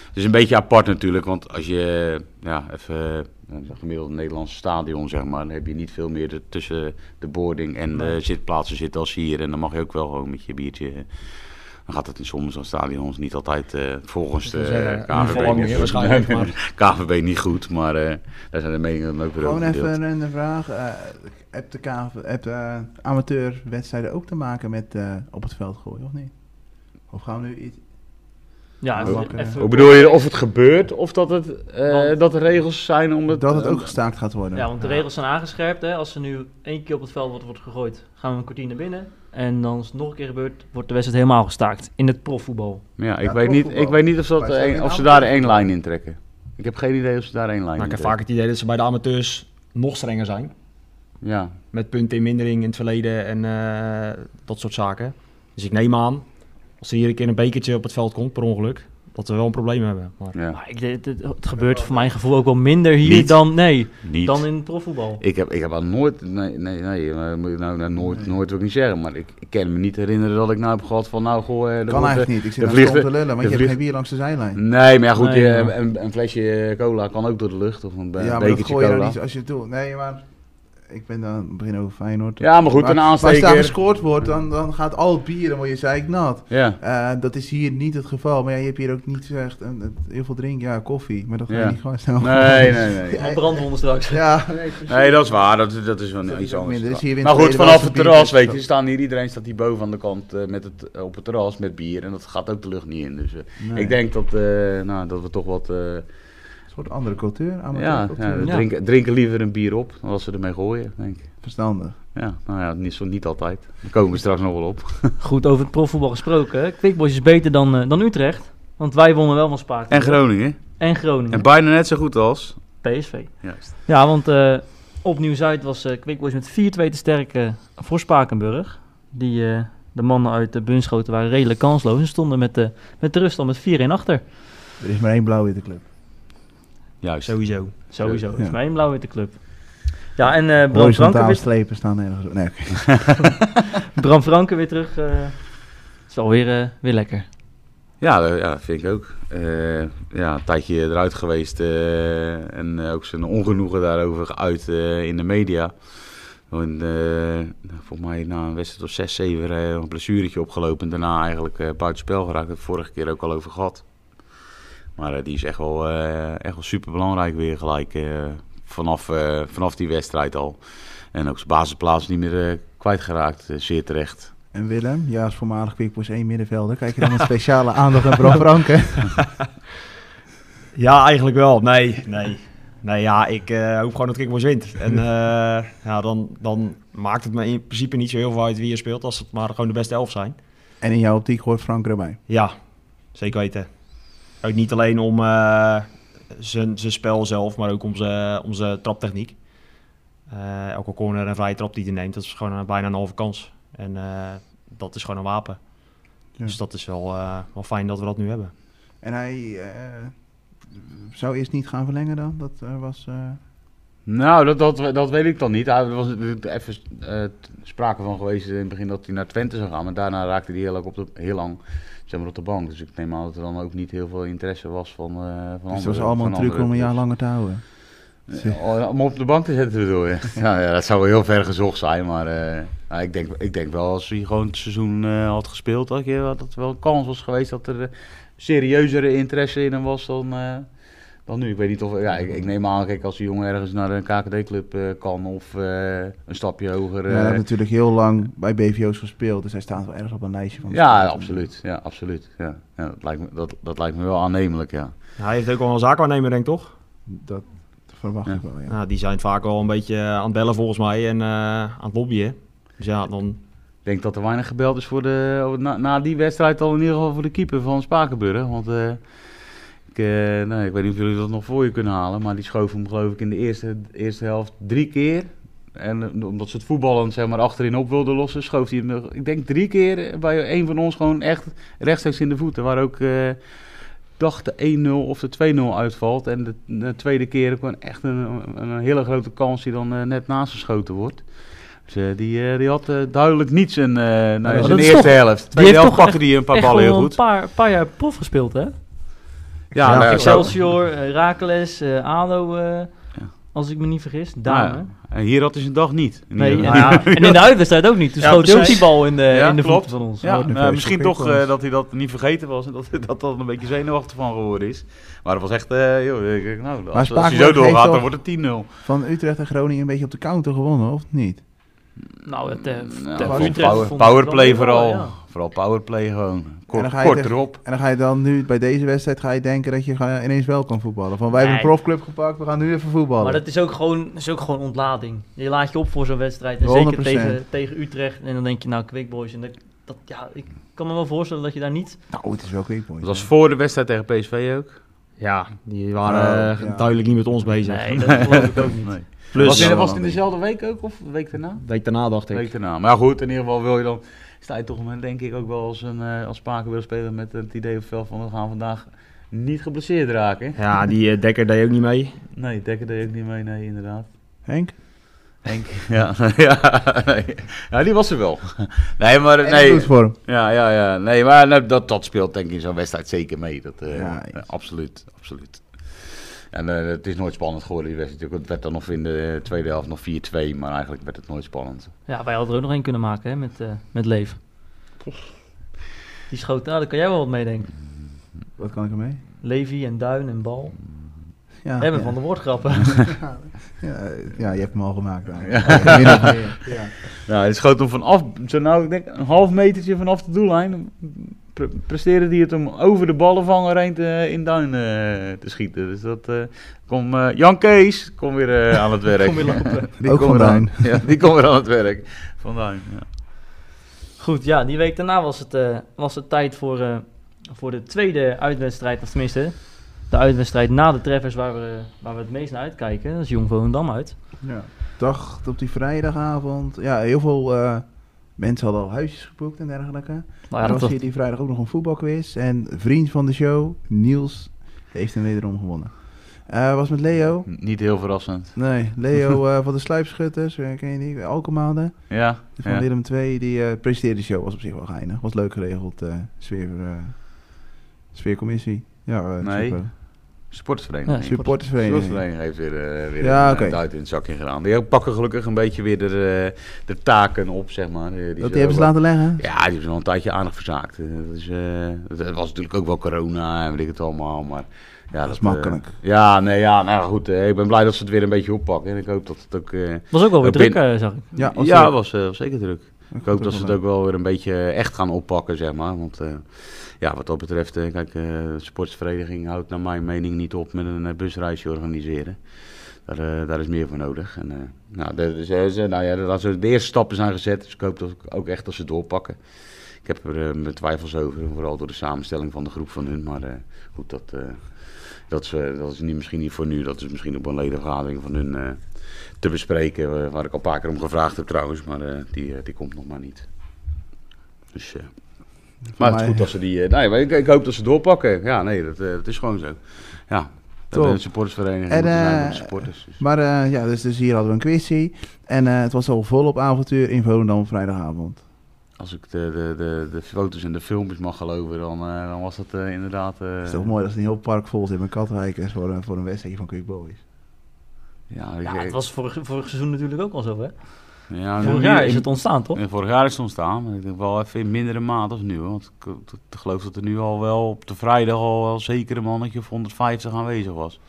C: Het is een beetje apart natuurlijk, want als je ja, even eh, een gemiddeld Nederlands stadion zeg maar, dan heb je niet veel meer de- tussen de boarding en de zitplaatsen zitten als hier. En dan mag je ook wel gewoon met je biertje. Dan gaat het in sommige stadions niet altijd eh, volgens de
B: Dus, eh, in
C: eh,
B: ieder geval lang meer waarschijnlijk,
C: KVB.
B: maar
C: KVB niet goed, maar eh, daar zijn de meningen dan ook weer
D: Gewoon
C: over verdeeld.
D: even een, een vraag. eh heb de, KV heb de amateurwedstrijden ook te maken met eh, op het veld gooien, of niet? Of gaan we nu iets...
A: Ja,
D: Ook,
A: even-
D: eh,
A: even-
C: Hoe bedoel je of het gebeurt of dat, het, eh,
A: Want-
C: dat er regels zijn om het...
D: Dat het
C: eh,
D: ook gestaakt gaat worden.
A: Ja, want de regels zijn aangescherpt. Hè. Als er nu één keer op het veld wordt, wordt gegooid, gaan we een kwartier naar binnen. En dan als het nog een keer gebeurt, wordt de wedstrijd helemaal gestaakt. In het profvoetbal.
C: eh, Ja, ik,
D: Ja,
C: weet niet, ik
D: profvoetbal.
C: weet niet of, dat
D: Maar zijn
C: een-
D: er
C: of ze
D: nou-
C: daar één lijn in trekken. Ik heb geen idee of ze daar één lijn
B: Maar
C: in
B: ik heb
C: trekken.
B: vaak het idee dat ze bij de amateurs nog strenger zijn.
C: Ja,
B: met punten in mindering in het verleden en eh, dat soort zaken. Dus ik neem aan, als er hier een keer een bekertje op het veld komt per ongeluk, dat we wel een probleem hebben. Maar
C: ja.
A: Maar Ah, ik, het, het- het gebeurt voor mijn gevoel ook wel minder hier
C: Niet.
A: dan, nee,
C: Niet.
A: dan in het profvoetbal.
C: Ik heb, ik heb al nooit, nee, nee, nee, maar moet ik nou, nou, nooit, nooit wil ik niet zeggen, maar ik, ik kan me niet herinneren dat ik nou heb gehad van, nou goh, eh, er
D: kan
C: wordt, eh,
D: eigenlijk niet. Ik zit
C: de
D: aan het
C: vliegtuig-
D: te lullen, want
C: de
D: je hebt
C: vlieg-
D: geen bier langs de zijlijn.
C: Nee, maar ja, goed,
A: Nee,
C: je-
A: ja.
C: Een, een flesje eh, cola kan ook door de lucht of een be-
D: ja, maar dat
C: eh, bekertje
D: gooi je
C: cola.
D: nou niet als je het doet. Nee, maar ik ben dan ik begin over Feyenoord.
C: Ja, maar goed,
D: Maar
C: een
D: Als daar
C: aansteker.
D: gescoord wordt, dan, dan gaat al het bier, dan word je zeiknat.
C: Ja,
D: Eh, dat is hier niet het geval. Maar ja, je hebt hier ook niet echt een, een- heel veel drinken. Ja, koffie. Maar dat ga je
C: Ja.
D: niet gewoon snel.
C: nee, nee, nee.
A: Al brandwonden straks.
D: Ja, nee, precies.
C: Nee, dat is waar. Dat, dat is wel
D: Dat is
C: iets
D: ook
C: anders.
D: minder. Dus hier in
C: maar
D: het
C: goed,
D: verleden
C: vanaf
D: was
C: het
D: het bier
C: terras,
D: dus
C: weet je,
D: zo.
C: staan hier, iedereen staat hier boven aan de kant eh, met het, op het terras met bier. En dat gaat ook de lucht niet in. Dus eh, ik denk dat, eh, nou, dat we toch wat... eh,
D: Een soort andere cultuur.
C: ja, ja,
D: amateurcultuur.
A: Ja.
C: Drinken, drinken liever een bier op dan als ze ermee gooien, denk ik.
D: Verstandig.
C: Ja, nou ja, niet, zo, niet altijd. Daar komen we straks nog wel op.
A: Goed over het profvoetbal gesproken. hè. Quick Boys is beter dan, eh, dan Utrecht. Want wij wonnen wel van Sparta.
C: En Groningen.
A: En Groningen.
C: En bijna net zo goed als...
A: PSV.
C: Juist.
A: Ja, want eh op Nieuw-Zuid was eh Quick Boys met 4-2 te sterk eh, voor Spakenburg. Die, eh, de mannen uit de Bunschoten waren redelijk eh, kansloos en stonden met, de met de rust al met 4-1 achter.
D: Er is maar één blauw in de club.
C: Juist.
B: Sowieso.
A: Sowieso.
D: Ja.
A: Volgens mij een blauw-witte club. Ja, en eh, Bram, Franken
D: Horizontale
A: weer,
D: strepen staan ergens. op. Nee, oké.
A: Bram Franken weer terug. eh is wel weer, eh, weer lekker.
C: Ja, eh, ja, vind ik ook. Eh, ja, een tijdje eruit geweest eh, en eh, ook zijn ongenoegen daarover geuit eh, in de media. En, eh, volgens mij na een wedstrijd of 6, 7 eh, een blessuretje opgelopen en daarna eigenlijk eh buitenspel geraakt. Dat vorige keer ook al over gehad. Maar eh, die is echt wel, eh, echt wel super belangrijk weer gelijk eh, vanaf, eh, vanaf die wedstrijd al. En ook zijn basisplaats niet meer eh, kwijtgeraakt, eh, zeer terecht.
D: En Willem, ja, als voormalig Quickboys 1 middenvelder, kijk je dan met speciale aandacht naar Bram Franken?
B: Ja, eigenlijk wel. Nee, nee. Nee, ja, ik eh, hoop gewoon dat Kickboys wint. En eh, ja, dan, dan maakt het me in principe niet zo heel veel uit wie je speelt, als het maar gewoon de beste elf zijn.
D: En in jouw optiek hoort Frank erbij.
B: Ja, zeker weten. Ook niet alleen om eh, zijn zijn spel zelf, maar ook om zijn om zijn traptechniek. Eh, elke corner en vrije trap die hij neemt, dat is gewoon eh, bijna een halve kans. En eh, dat is gewoon een wapen.
D: Ja.
B: Dus dat is wel, eh, wel fijn dat we dat nu hebben.
D: En hij eh, zou eerst niet gaan verlengen dan? Dat eh, was... eh,
C: Nou, dat, dat, dat weet ik dan niet. Hij- Er was natuurlijk even eh, sprake van geweest in het begin dat hij naar Twente zou gaan. Maar daarna raakte hij heel lang op de, heel lang, zeg maar, op de bank. Dus ik neem aan dat er dan ook niet heel veel interesse was van, eh van anderen.
D: dus het was allemaal een
C: van
D: truc
C: anderen.
D: om een jaar
C: Dus-
D: langer te houden.
C: Ja, oh, Om op de bank te zetten bedoel je? Ja, ja, dat zou wel heel ver gezocht zijn. Maar eh, nou, ik, denk, ik denk wel als hij gewoon het seizoen eh, had gespeeld... Dat, je, dat er wel een kans was geweest dat er eh, serieuzere interesse in hem was dan, eh, dan nu. Ik weet niet of... Ja, ik, ik neem aan, kijk, als die jongen ergens naar een KKD-club eh, kan... of eh, een stapje hoger...
D: Ja,
C: eh,
D: hij heeft
C: ja,
D: natuurlijk heel lang bij BVO's gespeeld, dus hij staat wel ergens op een lijstje van... de spelers.
C: absoluut. Ja, absoluut. Ja. Ja, dat, lijkt me, dat, dat lijkt me wel aannemelijk, ja.
B: Nou, Hij heeft ook wel een zaakwaarnemer, denk ik, toch?
D: Dat verwacht
C: Ja.
D: ik wel, ja.
B: Nou, die zijn vaak al een beetje eh, aan het bellen volgens mij en eh, aan het lobbyen. Dus ja, dan...
C: Ik denk dat er weinig gebeld is voor de, na, na die wedstrijd al in ieder geval voor de keeper van Spakenburg. Want eh, ik, eh, nee, ik weet niet of jullie dat nog voor je kunnen halen. Maar die schoof hem geloof ik in de eerste, eerste helft drie keer. En eh, omdat ze het voetballen zeg maar, achterin op wilden lossen, schoof hij hem, nog, ik denk drie keer bij een van ons gewoon echt rechtstreeks in de voeten. Waar ook, eh, ik dacht de 1-0 of de 2-0 uitvalt. En de, de tweede keer kwam echt een, een, een hele grote kans die dan eh, net naast geschoten wordt. Dus eh, die, eh, die had eh, duidelijk niets in, eh nou,
A: dat
C: in
A: is
C: de
A: toch-
C: eerste helft. Tweede
A: heeft
C: helft
A: toch
C: pakte hij een paar
A: Echt
C: ballen heel
A: al
C: goed.
A: een paar, paar jaar prof gespeeld, hè?
C: Ja, nou,
A: Excelsior, eh, Heracles, eh, ADO, eh, als ik me niet vergis. Daan,
C: Nou,
A: hè?
C: en hier had hij zijn dag niet. In
A: Nee,
C: ieder
A: en,
C: geval.
A: en in de uitwedstrijd ook niet. Toen
B: Ja,
A: schoot hij ook die
B: precies.
A: bal in de,
C: Ja,
A: in de
C: klopt.
A: voet van ons.
C: Ja,
D: Oh,
C: nou,
D: nerveus
C: misschien
D: geprikkeld
C: toch
D: was.
C: eh, dat hij dat niet vergeten was en dat dat dan een beetje zenuwachtig van geworden is. Maar dat was echt, eh, joh, ik- ik- nou, als, als hij
D: Spakenburg
C: zo
D: heeft
C: doorgaat,
D: toch-
C: dan wordt het 10-0.
D: Van Utrecht en Groningen een beetje op de counter gewonnen, of niet?
A: Nou, het, eh,
C: Nou,
A: ter
C: voor
A: Utrecht
C: power-
A: vond ik
C: powerplay
A: het wel
C: vooral.
A: weer wel, ja.
C: Vooral powerplay gewoon.
D: dan
C: Kort,
D: ga je
C: kort
D: tegen-
C: erop.
D: En dan ga je dan nu, bij deze wedstrijd, ga je denken dat je ga- ineens wel kan voetballen. Van, wij hebben
A: Nee.
D: een profclub gepakt, we gaan nu even voetballen.
A: Maar dat is ook gewoon, dat is ook gewoon ontlading. Je laat je op voor zo'n wedstrijd. En zeker
D: 100%.
A: tegen, tegen Utrecht. En dan denk je, nou, Quick Boys. En dat, dat, ja, ik kan me wel voorstellen dat je daar niet...
D: Nou, het is wel quickboy.
C: Dat was voor de wedstrijd tegen PSV ook.
B: Ja, die waren
D: Oh,
B: eh,
D: ja.
B: duidelijk niet met ons bezig.
A: Nee, dat geloof ik ook niet.
C: Nee.
B: Plus,
C: was,
D: Ja,
C: in, was het
D: dan
C: in dezelfde week ook of de week daarna?
B: week daarna dacht
C: De
B: ik.
C: week daarna. Maar goed, in ieder geval wil je dan... Sta je toch met, denk ik ook wel als een eh, als Spaken wil spelen met het idee of wel van we gaan vandaag niet geblesseerd raken.
B: Ja, die eh, dekker deed ook niet mee.
C: Nee, Dekker deed ook niet mee, nee inderdaad.
D: Henk?
C: Henk. Ja, ja, nee. ja, die was er wel. Nee, maar nee.
D: Goed voor hem.
C: Ja, ja, ja. Nee, maar nou, dat, dat speelt denk ik in zo'n wedstrijd zeker mee. Dat, eh,
D: Ja,
C: eh, absoluut, absoluut. En eh, het is nooit spannend geworden, die wedstrijd. Het werd dan nog in de eh, tweede helft nog 4-2, maar eigenlijk werd het nooit spannend.
A: Ja, wij hadden er ook nog één kunnen maken hè, met, eh met Leef. Die schoot, nou, daar kan jij wel wat meedenken.
D: Wat kan ik ermee?
A: Levy en Duin en Bal.
D: Ja,
A: Hebben
D: Ah, ja.
A: van de woordgrappen.
D: Ja, eh, ja, je hebt hem al gemaakt. daar.
C: Ja.
D: Min of meer. Ja.
C: Nou, het schoot hem vanaf, zo nou, ik denk een half metertje vanaf de doellijn. pre- presteerde hij het om over de ballenvanger heen te, in duin eh, te schieten. Dus dat eh kom, eh, Jan Kees, kom weer eh, aan het werk.
A: Kom weer lopen.
C: Die
D: Ook
C: kon
D: Van
C: weer
D: Duin.
C: aan- Ja, die komt weer aan het werk. Van Duin, ja.
A: Goed, ja, die week daarna was het, eh, was het tijd voor, eh, voor de tweede uitwedstrijd. Of tenminste, de uitwedstrijd na de treffers waar we, waar we het meest naar uitkijken. Dat is Jong Volendam uit.
D: Ja. Dacht op die vrijdagavond. Ja, heel veel eh, mensen hadden al huisjes geboekt en dergelijke.
A: Nou
D: Er
A: ja, dat
D: was
A: was,
D: hier die vrijdag ook nog een voetbalquiz. En vriend van de show, Niels, heeft hem wederom gewonnen. Eh, was met Leo.
C: N- Niet heel verrassend.
D: Nee, Leo eh, van de Sluipschutters, eh, ken je die? Alkemaalde.
C: Ja,
D: Van
C: ja.
D: Willem II, die eh, presenteerde de show. Was op zich wel geinig. Was leuk geregeld. eh sfeer, eh, sfeercommissie. Ja, eh
C: Nee.
D: super.
C: Sportvereniging.
A: Ja,
D: Supportersvereniging.
C: Sportvereniging heeft weer, eh, weer
D: Ja,
C: een
D: oké.
C: eh, duit in het zakje gedaan. Die pakken gelukkig een beetje weer de, eh, de taken op, zeg maar. Eh, Die,
D: Dat
C: ze
D: die hebben ze laten leggen?
C: Ja, die hebben ze al een tijdje aandacht verzaakt. Eh, Dat, is, eh, dat was natuurlijk ook wel corona en weet ik het allemaal, maar... Ja,
D: Dat is
C: eh,
D: makkelijk.
C: ja, nee, ja, nou goed. eh, ik ben blij dat ze het weer een beetje oppakken. En ik hoop dat het ook... eh,
A: Was ook wel weer
C: Eh,
A: druk, eh, zag ik.
D: Ja, was
C: ja,
D: leuk.
C: was eh, was zeker druk. Ik hoop dat ze het ook wel weer een beetje eh, echt gaan oppakken, zeg maar. Want eh, ja, wat dat betreft, eh, kijk, eh, de sportsvereniging houdt naar mijn mening niet op met een eh, busreisje organiseren. Daar, eh, daar is meer voor nodig. En, eh, nou, de, de- ze, ze- nou ja, dat ze de eerste stappen zijn gezet, dus ik hoop dat, ook echt dat ze doorpakken. Ik heb er eh, mijn twijfels over, vooral door de samenstelling van de groep van hun. Maar eh, goed, dat, eh, dat, is, eh, dat is niet, misschien niet voor nu, dat is misschien op een ledenvergadering van hun... eh, te bespreken. eh, Waar ik al een paar keer om gevraagd heb trouwens, maar eh, die, eh, die komt nog maar niet. Dus, eh, maar het is goed dat ze die. eh, nee, maar ik, ik hoop dat ze doorpakken. Ja, nee, dat, eh, dat is gewoon zo. Ja, dat
D: Top.
C: een supportersvereniging.
D: En,
C: moeten zijn
D: eh,
C: met de supporters. Dus.
D: Maar eh, ja, dus, dus hier hadden we een quizzie. En eh, het was al vol op avontuur in Volendam vrijdagavond.
C: Als ik de, de, de, de foto's en de filmpjes mag geloven, dan, eh, dan was dat eh, inderdaad. eh,
D: Het is toch mooi dat ze een heel park vol zit met katwijkers voor, een- voor een wedstrijdje van Quick Boys.
C: Ja, ik-
A: Ja, het was vorig, vorig seizoen natuurlijk ook al zo, hè?
C: ja,
A: Vorig
C: nu-
A: jaar
C: ik-
A: is het ontstaan, toch?
C: En vorig jaar is het ontstaan, maar ik denk wel even in mindere mate als nu. hoor. Want ik, ik- ik geloof dat er nu al wel op de vrijdag al wel zeker een mannetje of 150 aanwezig was.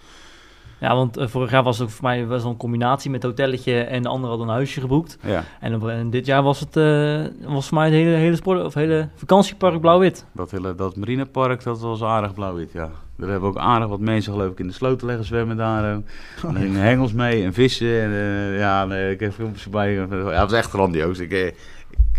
A: Ja, want eh, vorig jaar was het ook voor mij wel een combinatie met hotelletje en de ander had een huisje geboekt.
C: Ja,
A: En, op- en dit jaar was het eh, was voor mij het hele, hele, sport, of hele vakantiepark blauw-wit.
C: dat, hele, dat marinepark, dat was aardig blauw-wit, ja. Er hebben ook aardig wat mensen geloof ik in de sloot liggen zwemmen daar. ook. En Er gingen hengels mee en vissen. En, eh, ja, nee, ik heb filmpjes bij. Ja, het was echt grandioos. Ik, eh, ik,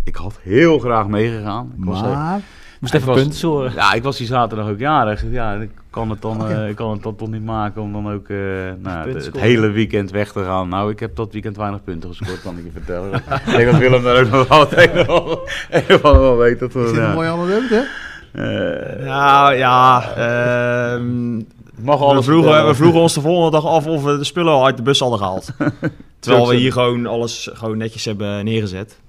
C: ik had heel graag meegegaan. Ik was, eh,
D: Maar,
A: Moest
C: Ik
A: even
C: was-
A: punten scoren.
C: Ja, ik was die zaterdag ook jarig. Ja, en ik kan het dan,
D: Oh, ja.
C: eh, ik kan het dan toch niet maken om dan ook eh, nou,
A: punten
C: het, het
A: scoren.
C: hele weekend weg te gaan. Nou, ik heb dat weekend weinig punten gescoord, kan ik je vertellen. ik denk dat Willem daar ook nog wel het een of ander wel weet. Dat we,
D: is dit
C: ja.
D: een mooie anekdote? hè?
C: Eh,
B: Nou ja, ehm,
C: mag
B: we,
C: alles
B: vroegen,
C: vertellen.
B: we vroegen ons de volgende dag af of we de spullen al uit de bus hadden gehaald. Terwijl we hier gewoon alles gewoon netjes hebben neergezet.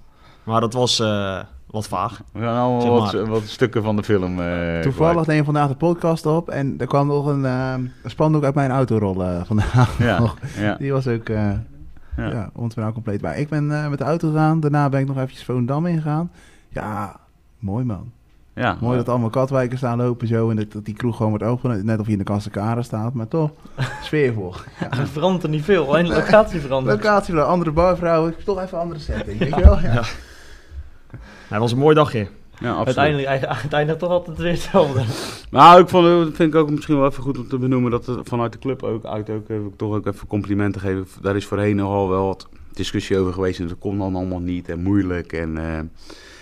B: Maar dat was eh, wat vaag.
C: We gaan allemaal
B: Zeg
C: wat,
B: maar.
C: wat stukken van de film. eh,
D: Toevallig neem vandaag de podcast op en er kwam nog een ehm, een spandoek uit mijn auto rollen eh, vandaag.
C: kwijt. Ja, ja.
D: Die was ook eh Oh. ja.
C: Ja.
D: ons verhaal compleet bij. Ik ben eh, met de auto gegaan, daarna ben ik nog eventjes Volendam ingegaan. Ja, mooi man.
C: ja.
D: Mooi dat allemaal katwijkers staan lopen zo en dat, dat die kroeg gewoon wordt open. Net of je in de Kassenkaren staat, maar toch sfeervol.
A: Er verandert er niet veel, alleen de locatie verandert.
D: Locatie, wel, andere barvrouwen, toch even een andere setting, weet je wel? Ja.
B: Het was een mooi dagje.
C: Ja, absoluut.
A: Uiteindelijk, uiteindelijk toch altijd weer hetzelfde.
C: Nou, ik vond, dat vind ik ook misschien wel even goed om te benoemen dat er vanuit de club ook uit ook eh, wil ik toch ook even complimenten geven. Daar is voorheen nogal wel wat discussie over geweest en dat kon dan allemaal niet en moeilijk en. eh,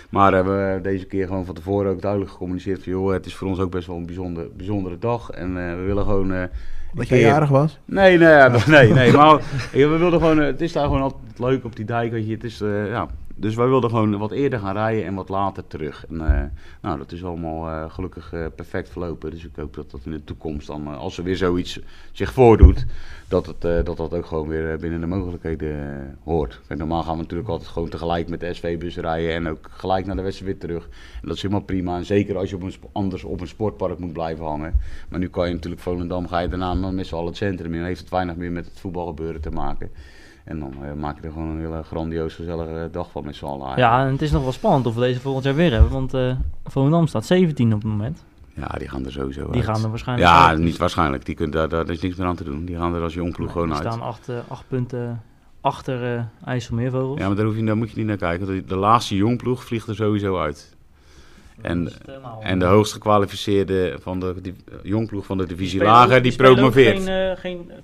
C: maar hebben we deze keer gewoon van tevoren ook duidelijk gecommuniceerd van... joh, het is voor ons ook best wel een bijzonder, bijzondere dag. En eh, we willen gewoon... eh,
D: Dat
C: een
D: jij
C: keer-
D: jarig was.
C: Nee, nee, ja, nee, nee. Maar we wilden gewoon, eh, het is daar gewoon altijd leuk op die dijk. Weet je, het is, eh, ja. Dus wij wilden gewoon wat eerder gaan rijden en wat later terug. En, eh, nou, dat is allemaal eh, gelukkig eh, perfect verlopen. Dus ik hoop dat dat in de toekomst dan, eh, als er weer zoiets zich voordoet, dat het, eh, dat, dat ook gewoon weer eh, binnen de mogelijkheden eh, hoort. Kijk, normaal gaan we natuurlijk altijd gewoon tegelijk met de SV-bus rijden en ook gelijk naar de wedstrijd weer terug. En dat is helemaal prima. En zeker als je op een sp- anders op een sportpark moet blijven hangen. Maar nu kan je natuurlijk Volendam, ga je daarna dan met z'n allen het centrum in. Dan heeft het weinig meer met het voetbalgebeuren te maken. En dan eh, maak je er gewoon een hele grandioos gezellige dag van met z'n allen. eigenlijk.
A: Ja, en het is nog wel spannend of we deze volgend jaar weer hebben, want eh Volendam staat 17 op het moment.
C: ja, die gaan er sowieso
A: Die
C: uit.
A: gaan er waarschijnlijk
C: Ja,
A: uit.
C: niet waarschijnlijk. Die kunt, daar, daar is niks meer aan te doen. Die gaan er als jongploeg gewoon
A: Die
C: uit.
A: staan acht, eh, acht punten achter eh IJsselmeervogels.
C: Ja, maar daar, hoef je, daar moet je niet naar kijken. De, de laatste jongploeg vliegt er sowieso uit.
A: Dus,
C: En,
A: eh, nou,
C: en de hoogst gekwalificeerde van de die, jongploeg van de divisie lager, die promoveert.
A: Geen, eh, geen eh,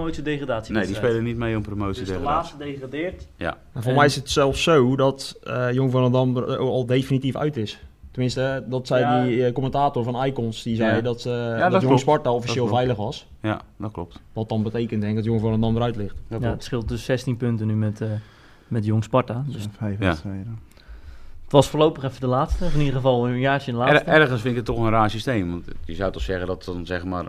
A: promotie-degradatie.
C: nee, die spelen niet mee om promotie
A: Dus
C: te
A: de
C: halen.
A: laatste degradeert.
B: En voor
A: En-
B: mij is het zelfs zo dat eh Jong van Dam er al definitief uit is. Tenminste, eh, dat zei
A: Ja.
B: die eh, commentator van Icons, die zei
C: Ja.
B: dat, eh
C: dat
B: dat, Jong
C: klopt.
B: Sparta officieel
C: Dat klopt.
B: veilig was.
C: Ja, dat klopt.
B: Wat dan betekent denk ik dat Jong van Dam eruit ligt.
C: Dat
A: Ja,
C: klopt.
A: het scheelt dus 16 punten nu met, eh, met Jong Sparta. Dus
D: Dus vijf
C: Ja.
D: wedstrijden.
A: het was voorlopig even de laatste. Of in ieder geval een jaartje de
C: Er-
A: laatste.
C: ergens vind ik het toch een raar systeem. Want je zou toch zeggen dat dan zeg maar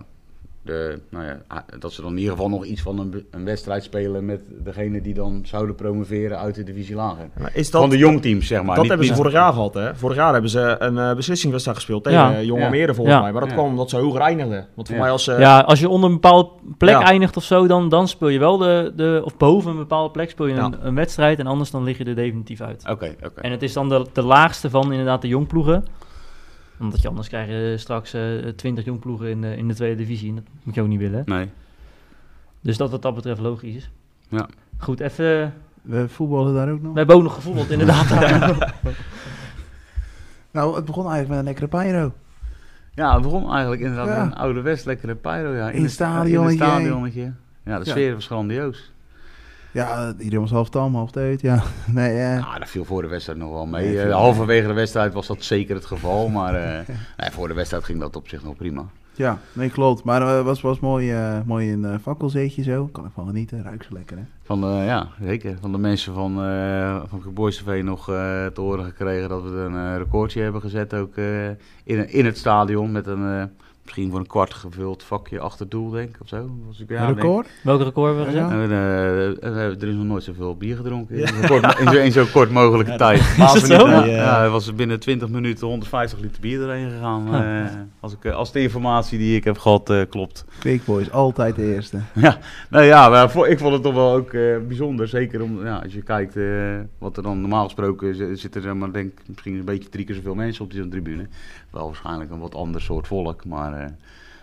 C: de, nou ja, a- dat ze dan in ieder geval nog iets van een, be- een wedstrijd spelen met degene die dan zouden promoveren uit de divisie lager.
B: Maar Is
C: van
B: dat,
C: de jongteams, zeg maar.
B: dat
C: Niet-
B: hebben ze
C: niet-
B: vorig jaar gehad, hè? Vorig jaar hebben ze een eh, beslissingswedstrijd gespeeld tegen
A: Ja.
B: eh, Jong
C: Ja.
B: Almere, volgens
A: Ja.
B: mij. Maar dat
C: Ja.
B: kwam omdat ze hoger eindigden. Want voor
C: Ja.
B: mij als eh, ze...
A: ja, als je onder een bepaalde plek
B: Ja.
A: eindigt of zo, dan, dan speel je wel de, de... Of boven een bepaalde plek speel je
B: Ja.
A: een, een wedstrijd en anders dan lig je er definitief uit.
C: Oké, oké.
A: En het is dan de, de laagste van inderdaad de jongploegen. Omdat je anders krijg je straks eh 20 jongploegen in de, in de tweede divisie. En dat moet je ook niet willen.
C: Nee.
A: Dus dat wat dat betreft logisch is.
C: Ja.
A: Goed, even...
D: We voetballen daar ook nog.
A: We hebben ook nog gevoetbald, inderdaad.
D: Nou, het begon eigenlijk met een lekkere pyro.
C: Ja, het begon eigenlijk inderdaad
D: Ja.
C: met een ouderwets lekkere pyro. Ja.
D: In het
C: het
D: stadionnetje.
C: In het stadionnetje. Ja, de
D: Ja.
C: sfeer was grandioos.
D: Ja, iedereen was half tam, half teut. Ja, nee, eh,
C: Ja, dat Ah, viel voor de wedstrijd nog wel mee.
D: Nee,
C: Eh,
D: viel-
C: halverwege de wedstrijd was dat zeker het geval. Maar eh, nee, voor de wedstrijd ging dat op zich nog prima.
D: ja, nee, klopt. Maar het was, was mooi, eh, mooi in een fakkelzeetje zo. Kan ik van genieten. Ruikt ze lekker, hè?
C: Van de, ja, zeker. Van de mensen van, eh van Good Boys TV nog eh, te horen gekregen dat we een eh, recordje hebben gezet. Ook eh, in, in het stadion met een eh, misschien voor een kwart gevuld vakje achter het doel, denk ik. Of zo. Was ik, ja, denk ik.
D: Record?
A: Welk record hebben we gezet?
D: Ja.
C: En, eh, en we hebben- er is nog nooit zoveel bier gedronken in zo'n kort, in zo- in zo'n kort mogelijke tijd.
A: dat zo?
C: Ja,
B: Ja.
C: eh, ja, er was binnen 20 minuten 150 liter bier erheen gegaan. eh, als, ik, eh, als de informatie die ik heb gehad eh, klopt.
D: Quick Boys, altijd de eerste.
C: Nou ja, maar vo- ik vond het toch wel ook eh, bijzonder. Zeker om, ja, als je kijkt eh, wat er dan normaal gesproken z- zitten er maar denk ik, misschien een beetje drie keer zoveel mensen op die tribune. Wel waarschijnlijk een wat ander soort volk, maar eh,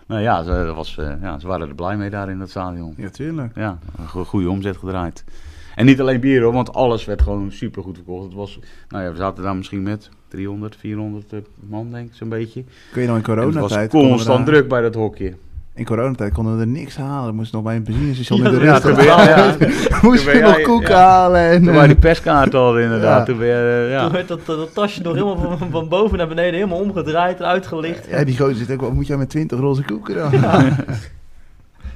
C: nou ja ze, dat was, eh, ja, ze waren er blij mee daar in dat stadion.
D: Ja, tuurlijk.
C: Ja, een go- goede omzet gedraaid. En niet alleen bier hoor, want alles werd gewoon supergoed verkocht. Het was, nou ja, we zaten daar misschien met 300, 400 eh, man denk ik zo'n beetje.
D: Kun je nou in
C: En het was
D: coronatijd... konden we
C: constant
D: daar-
C: druk bij dat hokje.
D: In coronatijd konden we er niks halen. We moesten nog bij een benzinestation
A: Ja,
D: in de
A: ja,
D: rust.
C: toen ben jij-
D: moesten
C: toen
D: we
C: ben
D: nog
C: jij-
D: koek
C: ja.
D: halen. En, eh,
C: Toen waren die perskaarten al inderdaad.
D: Ja.
C: Toen ben je, eh, ja.
A: Toen werd dat, dat, dat tasje nog helemaal van, van boven naar beneden helemaal omgedraaid en uitgelicht.
D: ja, die gozer zit ook wel... Moet jij met 20 roze koeken dan?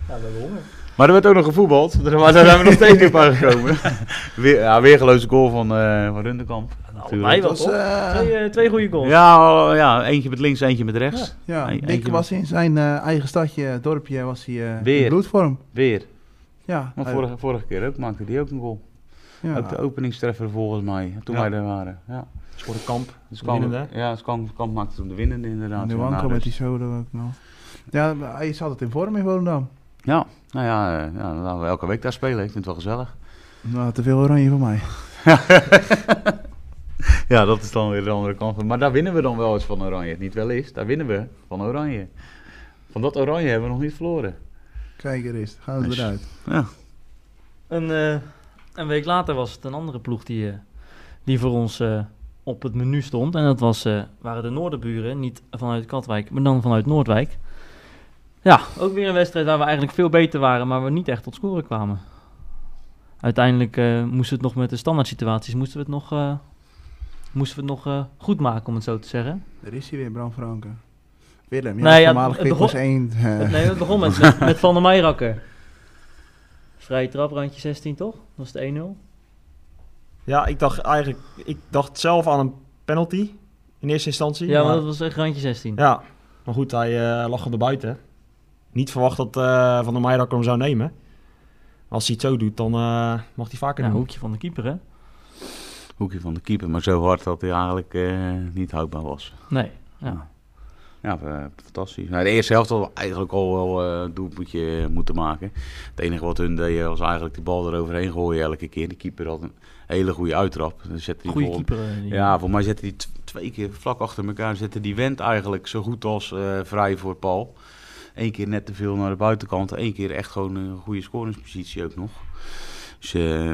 A: Ja, we hebben honger.
C: Maar er werd ook nog gevoetbald. Daar- Maar daar zijn we nog steeds niet op aangekomen. Weer, ja, weergeloze goal van, eh van Rundekamp.
A: Nou, Allebei wel,
D: Dat was,
A: toch?
D: eh,
A: Twee, eh, twee goede goals.
C: Ja, oh, ja, eentje met links, eentje met rechts.
D: Ja,
C: Eén-
D: Dick
C: eentje
D: was in zijn eh, eigen stadje, dorpje, was hij eh,
C: Weer.
D: in bloedvorm.
C: Weer.
D: Ja,
C: Want
D: hij-
C: vorige, vorige keer ook maakte die ook een goal.
D: ja.
C: Ook de openingstreffer volgens mij, toen
B: Ja.
C: wij er waren. Ja,
B: Voor de kamp.
C: dus kwam,
B: winnende.
C: ja dus kwam, kwam maakte toen de winnende inderdaad.
D: En de
C: Ja,
D: Wanko
C: nou,
D: met die
C: dus-
D: solo ook nog. Ja, maar hij zat het in vorm in Volendam.
C: Ja, nou ja, eh, ja, dan gaan we elke week daar spelen. Ik vind het wel gezellig.
D: Nou, te veel oranje voor mij.
C: Ja, dat is dan weer de andere kant. van- Maar daar winnen we dan wel eens van Oranje. Niet wel eens, daar winnen we van Oranje. Van dat Oranje hebben we nog niet verloren.
D: Kijk er eens, gaan ze
C: Dus-
D: eruit.
A: Een, eh, een week later was het een andere ploeg die, eh, die voor ons eh, op het menu stond. En dat was, eh, waren de Noorderburen. Niet vanuit Katwijk, maar dan vanuit Noordwijk. Ja, ook weer een wedstrijd waar we eigenlijk veel beter waren, maar we niet echt tot scoren kwamen. Uiteindelijk eh, moesten we het nog met de standaard situaties moesten we het nog, eh, moesten we het nog eh, goed maken, om het zo te zeggen.
D: Daar is hij weer, Bram Franken. Willem, ja,
A: Nee, ja, het
D: voormalig Quick
A: begon-
D: was één. eh,
A: Nee, het begon met, met, met Van der Meijrakker. Vrije trap, randje 16 toch? Dat was de 1-0.
B: Ja, ik dacht eigenlijk... Ik dacht zelf aan een penalty in eerste instantie.
A: Ja,
B: maar-
A: want dat was echt randje 16.
B: Ja, maar goed, hij eh, lag op de buiten. Niet verwacht dat eh, Van der Meijerakker hem zou nemen. Als hij het zo doet, dan eh, mag hij vaker
A: Ja,
B: doen.
A: hoekje van de keeper, hè?
C: Hoekje van de keeper, maar zo hard dat hij eigenlijk eh, niet houdbaar was.
A: Nee. Ja.
C: Ja. Ja, eh, fantastisch. Nou, de eerste helft hadden we eigenlijk al wel eh, een doelpuntje moeten maken. Het enige wat hun deed was eigenlijk die bal eroverheen gooien elke keer. Die keeper had een hele goede uittrap. Dan zette die
A: Goede
C: bal-
A: keeper. eh, die-
C: Ja, voor mij zette die tw- twee keer vlak achter elkaar. Zette die wend eigenlijk zo goed als eh, vrij voor Paul. Eén keer net te veel naar de buitenkant. Eén keer echt gewoon een goede scoringspositie ook nog. Dus eh,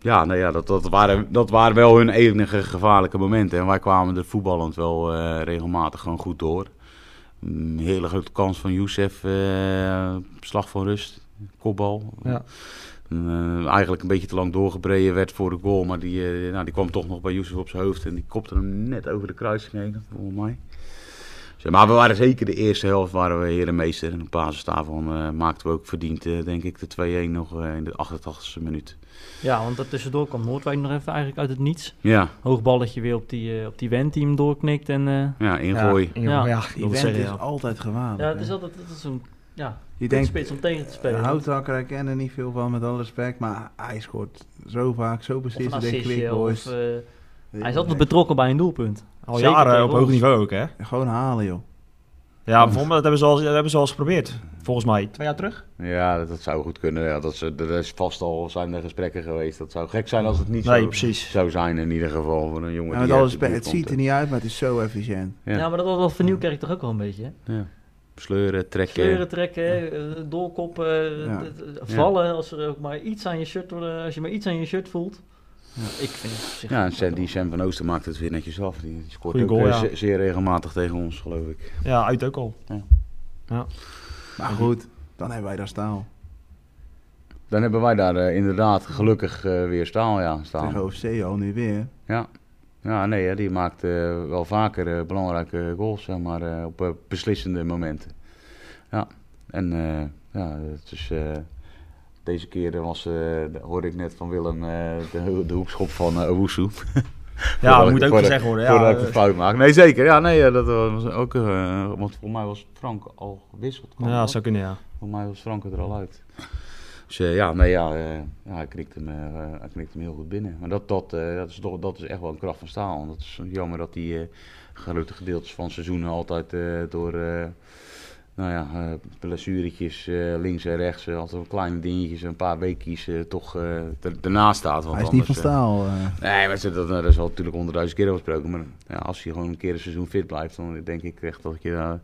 C: ja, nou ja dat, dat, waren, dat waren wel hun enige gevaarlijke momenten. En wij kwamen er voetballend wel eh, regelmatig gewoon goed door. Een hele grote kans van Youssef. eh, slag van rust. Kopbal.
B: Ja.
C: Eh, eigenlijk een beetje te lang doorgebreden werd voor de goal. Maar die, eh, nou, die kwam toch nog bij Youssef op zijn hoofd. En die kopte hem net over de kruising heen, volgens mij. Zeg, maar we waren zeker de eerste helft, waren we herenmeester. En op basis daarvan eh, maakten we ook verdiend, eh, denk ik, de 2-1 nog eh, in de 88e minuut.
A: ja, want daartussendoor kwam Noordwijk nog even eigenlijk uit het niets.
C: Ja,
A: Hoogballetje weer op die, eh op die Wend die hem doorknikt. En, eh,
C: ja ingooi.
B: Ja, in-
A: Ja.
B: ja, ik
D: Die
B: wilde
D: vent
B: zeggen,
D: is
B: ja.
D: altijd gewaarlijk.
A: ja, het is
D: hè.
A: altijd dat is een Ja,
D: Je
A: denk,
D: denkt, eh,
A: spits om tegen te spelen.
D: Houthakker, ik ken er niet veel van, met alle respect. Maar hij scoort zo vaak, zo
A: of een
D: precies. Ik denk,
A: assistje.
D: quick
A: Of,
D: boys.
A: eh, hij is altijd betrokken bij een doelpunt.
B: Al
A: Zeker
B: jaren
A: tegen
B: op hoog
A: ons.
B: niveau ook, hè?
D: Gewoon halen, joh.
B: Ja, bijvoorbeeld, dat hebben, ze al, dat hebben ze al eens geprobeerd. Volgens mij. Twee jaar terug?
C: Ja, dat, dat zou goed kunnen. Ja, dat ze, er is vast al zijn er gesprekken geweest. Dat zou gek zijn als het niet
B: Nee,
C: zo
B: precies.
C: zou zijn in ieder geval. Voor een jongen
D: En
C: die
D: met alle
C: uit de
D: respect,
C: buurt
D: het ziet er
C: komt,
D: niet uit, maar het is zo efficiënt.
C: Ja.
A: Ja, maar dat was dat van Nieuwkerk toch ook wel een beetje. hè?
C: hè. Ja. Sleuren, trekken.
A: Kleuren trekken, eh, doorkoppen, eh,
D: Ja.
A: d- d- vallen als er ook maar iets aan je shirt wordt, eh, als je maar iets aan je shirt voelt. Ik vind het op zich
C: Ja, en Sam, die Sam van Ooster maakt het weer netjes af. Die, die scoort
B: Goeie
C: ook
B: goal,
C: eh,
B: ja.
C: ze- zeer regelmatig tegen ons, geloof ik.
B: Ja, uit ook al.
D: Maar goed, dan hebben wij daar staal.
C: Dan hebben wij daar eh, inderdaad gelukkig eh, weer staal ja, staan.
D: Tegen OFC al nu weer.
C: Ja. Ja, nee, hè, die maakt eh, wel vaker eh, belangrijke goals, zeg maar, eh, op eh, beslissende momenten. Ja, en eh, ja, het is, eh, deze keer was, eh, de- hoorde ik net van Willem eh, de, de hoekschop van eh, Owusu.
B: Ja,
C: Voordat
B: dat moet
C: ik-
B: ook
C: voordat-
B: gezegd worden.
C: Voordat
B: Ja,
C: ik een
B: eh,
C: fout maak. Nee, zeker. Ja, nee, eh, dat was ook, eh, want voor mij was Frank al gewisseld. kan
B: ja,
C: dat?
B: zou kunnen, ja.
C: Voor mij was Frank er al uit. Dus eh, ja, nee, ja, eh, ja hij, knikt hem, eh, hij knikt hem heel goed binnen. Maar dat, dat, eh, dat, is, toch, dat is echt wel een kracht van staal. En Dat is jammer dat die eh, grote gedeeltes van seizoenen altijd eh, door eh nou ja, eh, blessuretjes eh, links en rechts, eh, altijd wel kleine dingetjes, een paar weekjes eh, toch eh, er- ernaast staat. Want
D: Hij is niet van
C: anders, eh,
D: staal. eh.
C: Nee, maar ze- dat, dat is wel natuurlijk honderdduizend keer al besproken. Maar ja, als je gewoon een keer een seizoen fit blijft, dan denk ik echt dat je daar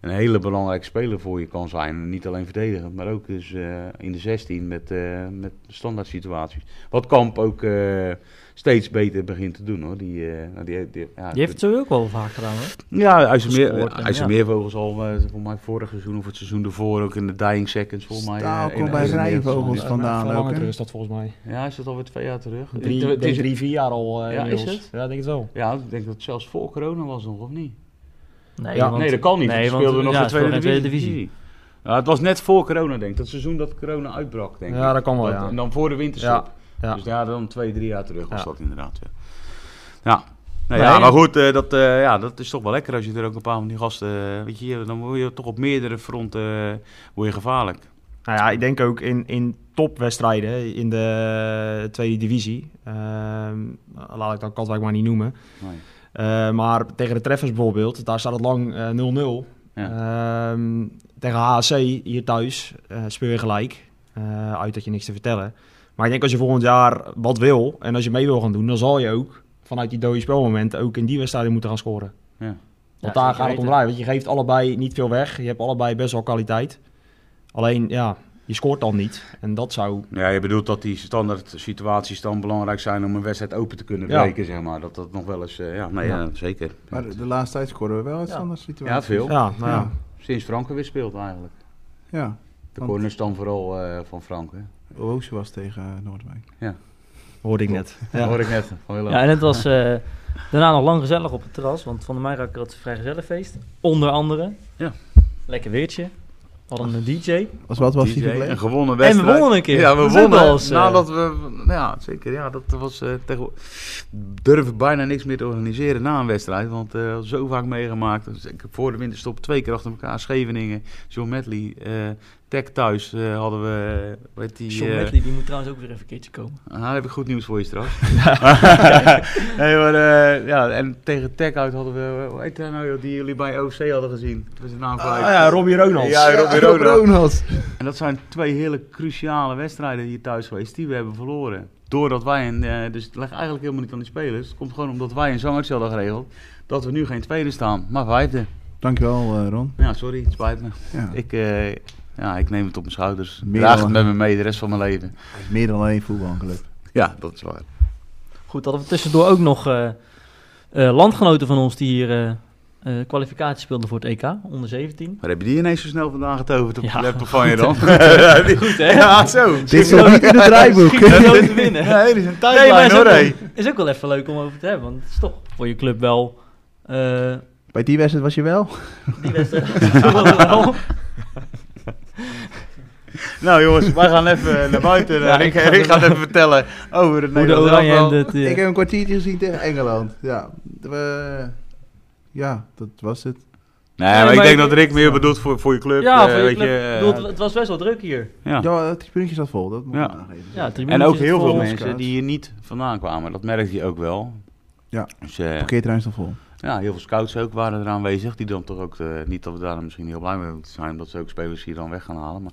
C: een hele belangrijke speler voor je kan zijn. Niet alleen verdedigend, maar ook dus eh, in de 16 met, eh, met standaard situaties. Wat Kamp ook eh, steeds beter begint te doen hoor. Die, eh, nou, die, die, ja,
A: Die heeft het zo ook wel vaak gedaan hoor.
C: ja, IJsselmeer,
A: gescoord en
C: IJsselmeervogels al eh, volgens mij vorig seizoen of het seizoen daarvoor ook in de dying seconds volgens mij.
D: Staal
C: eh, in-
D: komt bij
C: in- in-
D: Rijnvogels
B: Ja,
D: vandaan
B: van
D: ook,
B: langer
D: hè?
B: terug is dat volgens mij.
C: Ja, is dat alweer twee jaar terug?
B: Drie,
C: Het- het is-
B: drie vier jaar al. eh,
C: Ja, is
B: inmiddels.
C: het?
B: Ja, ik denk het wel.
C: ja, ik denk dat het zelfs voor corona was nog, of niet?
A: Nee,
B: Ja.
A: want-
C: nee, dat kan niet.
A: nee,
C: want
A: want-
C: speelden nog
A: ja,
C: de tweede,
A: het speelde in de
C: divisie.
A: tweede
C: Ja, het was net voor corona, denk ik. Dat seizoen dat corona uitbrak, denk ik.
B: Ja, dat kan wel, ja.
C: En dan voor de winterstop.
B: Ja.
C: Dus ja, dan twee, drie jaar terug was
B: Ja.
C: dat inderdaad. Ja, ja. Nou
B: Nee.
C: ja maar goed, eh, dat, eh, ja, dat is toch wel lekker als je er ook een paar van die gasten... eh, weet je, dan word je toch op meerdere fronten eh, word je gevaarlijk.
B: Nou ja, ik denk ook in, in topwedstrijden in de tweede divisie. ehm, laat ik dan Katwijk maar niet noemen.
C: Nee.
B: Eh, maar tegen de treffers bijvoorbeeld, daar staat het lang eh, 0-0. Ehm, tegen HAC hier thuis eh speel je gelijk. Eh, uit dat je niks te vertellen. Maar ik denk als je volgend jaar wat wil en als je mee wil gaan doen, dan zal je ook vanuit die dode spelmomenten ook in die wedstrijden moeten gaan scoren. Want
A: Ja, zeker
B: daar gaat het om
A: weten.
B: draaien. Want je geeft allebei niet veel weg. Je hebt allebei best wel kwaliteit. Alleen, ja, je scoort dan niet. En dat zou...
C: Ja, je bedoelt dat die standaard situaties dan belangrijk zijn om een wedstrijd open te kunnen
B: Ja.
C: breken, zeg maar. Dat dat nog wel eens... eh, ja, nee,
B: Ja.
C: ja, zeker.
D: Maar de laatste tijd scoren we wel uit
A: Ja.
D: standaard
C: Ja,
D: situaties.
C: veel.
B: Ja, nou ja.
D: Ja.
C: Sinds Franken weer speelt eigenlijk.
D: Ja,
C: De
D: Want-
C: corners dan vooral eh, van Frank, hè?
D: Oosje was tegen eh, Noordwijk.
B: hoorde ik net.
C: Dat
B: Ja.
C: hoor ik net van Willem.
A: Ja, en het was eh, daarna nog lang gezellig op het terras, want Van der Meijrakker had zijn vrijgezellenfeest, onder andere.
C: Ja.
A: Lekker weertje. Hadden een DJ.
D: Was Dus wat was die
C: DJ,
D: gebleven?
C: een gewonnen wedstrijd.
A: wonnen een keer.
C: Ja, we
A: Dat is ook
C: wonnen.
A: wel eens, eh,
C: Nadat we... nou Ja, zeker. Ja, dat was eh tegen... Durven bijna niks meer te organiseren na een wedstrijd. Want eh zo vaak meegemaakt. Dus ik heb voor de winterstop twee keer achter elkaar. Scheveningen, John Medley, eh Tech thuis eh, hadden we... Weet die,
A: John
C: eh,
A: Medley, die moet trouwens ook weer even een keertje komen.
C: Nou, dan heb ik goed nieuws voor je straks. nee, maar, eh, ja, en tegen Tech uit hadden we... Hoe heet hij nou, joh, die jullie bij OC hadden gezien? Dat is de naam
B: Ah
C: kwijt.
B: ja, Robbie Ronalds.
C: Ja, Robbie Ronald.
D: Ronald.
C: En dat zijn twee hele cruciale wedstrijden hier thuis geweest die we hebben verloren. Doordat wij, een, eh, dus het ligt eigenlijk helemaal niet aan die spelers. Het komt gewoon omdat wij een zangertje hadden geregeld. Dat we nu geen tweede staan, maar vijfde.
D: Dankjewel, eh, Ron.
C: Ja, sorry, het spijt me.
D: Ja.
C: Ik, eh, ja, ik neem het op mijn schouders.
D: Meer
C: Draag het
D: dan-
C: met me mee de rest van mijn leven.
D: Het is meer dan alleen voetbalclub.
C: Ja, dat is waar.
A: Goed, hadden we tussendoor ook nog eh, eh, landgenoten van ons die hier eh, eh, kwalificatie speelden voor het EK, onder 17.
C: Maar heb je die ineens zo snel vandaan getoverd op
A: Ja,
C: de laptop van je dan?
A: Goed, hè?
C: ja, zo.
D: Dit is nog niet in het draaiboek.
A: Schiet zo te winnen.
C: Nee, die zijn
A: Nee, maar
C: tijdlijn
A: is
C: hoor.
A: ook,
C: hé.
A: wel- is ook wel even leuk om over te hebben, want het is toch voor je club wel... eh,
D: Bij die wedstrijd was je wel?
A: die wedstrijd. wel.
C: Nou jongens, wij gaan even naar buiten.
A: Ja,
C: en ik,
A: ik ga
C: ik ga
A: er-
C: het even vertellen over het
A: Hoe de
C: Nederlands
A: Oranje
C: elftal.
A: en het... eh,
D: Ik heb een kwartiertje gezien tegen Engeland. Ja, we, ja Eh, dat was het.
C: Nee, maar ik
A: maar
C: denk
A: ik-
C: dat Rick meer bedoelt voor, voor je club.
A: Ja,
C: eh,
A: voor je
C: weet
A: club.
C: je,
A: Ik
C: eh,
A: bedoel, het- het was best wel druk hier.
C: ja.
D: Ja, het puntje zat vol, dat moet ik
C: Ja.
D: aangeven.
A: Ja,
C: En ook heel veel
D: ons
C: mensen
D: kaart.
C: die hier niet vandaan kwamen. Dat merkte je ook wel.
D: Ja.
C: Dus, eh,
D: parkeerterrein staat vol.
C: ja, heel veel scouts ook waren er aanwezig. Die dan toch ook, eh, niet dat we daar misschien heel blij mee moeten zijn, dat ze ook spelers hier dan weg gaan halen. Maar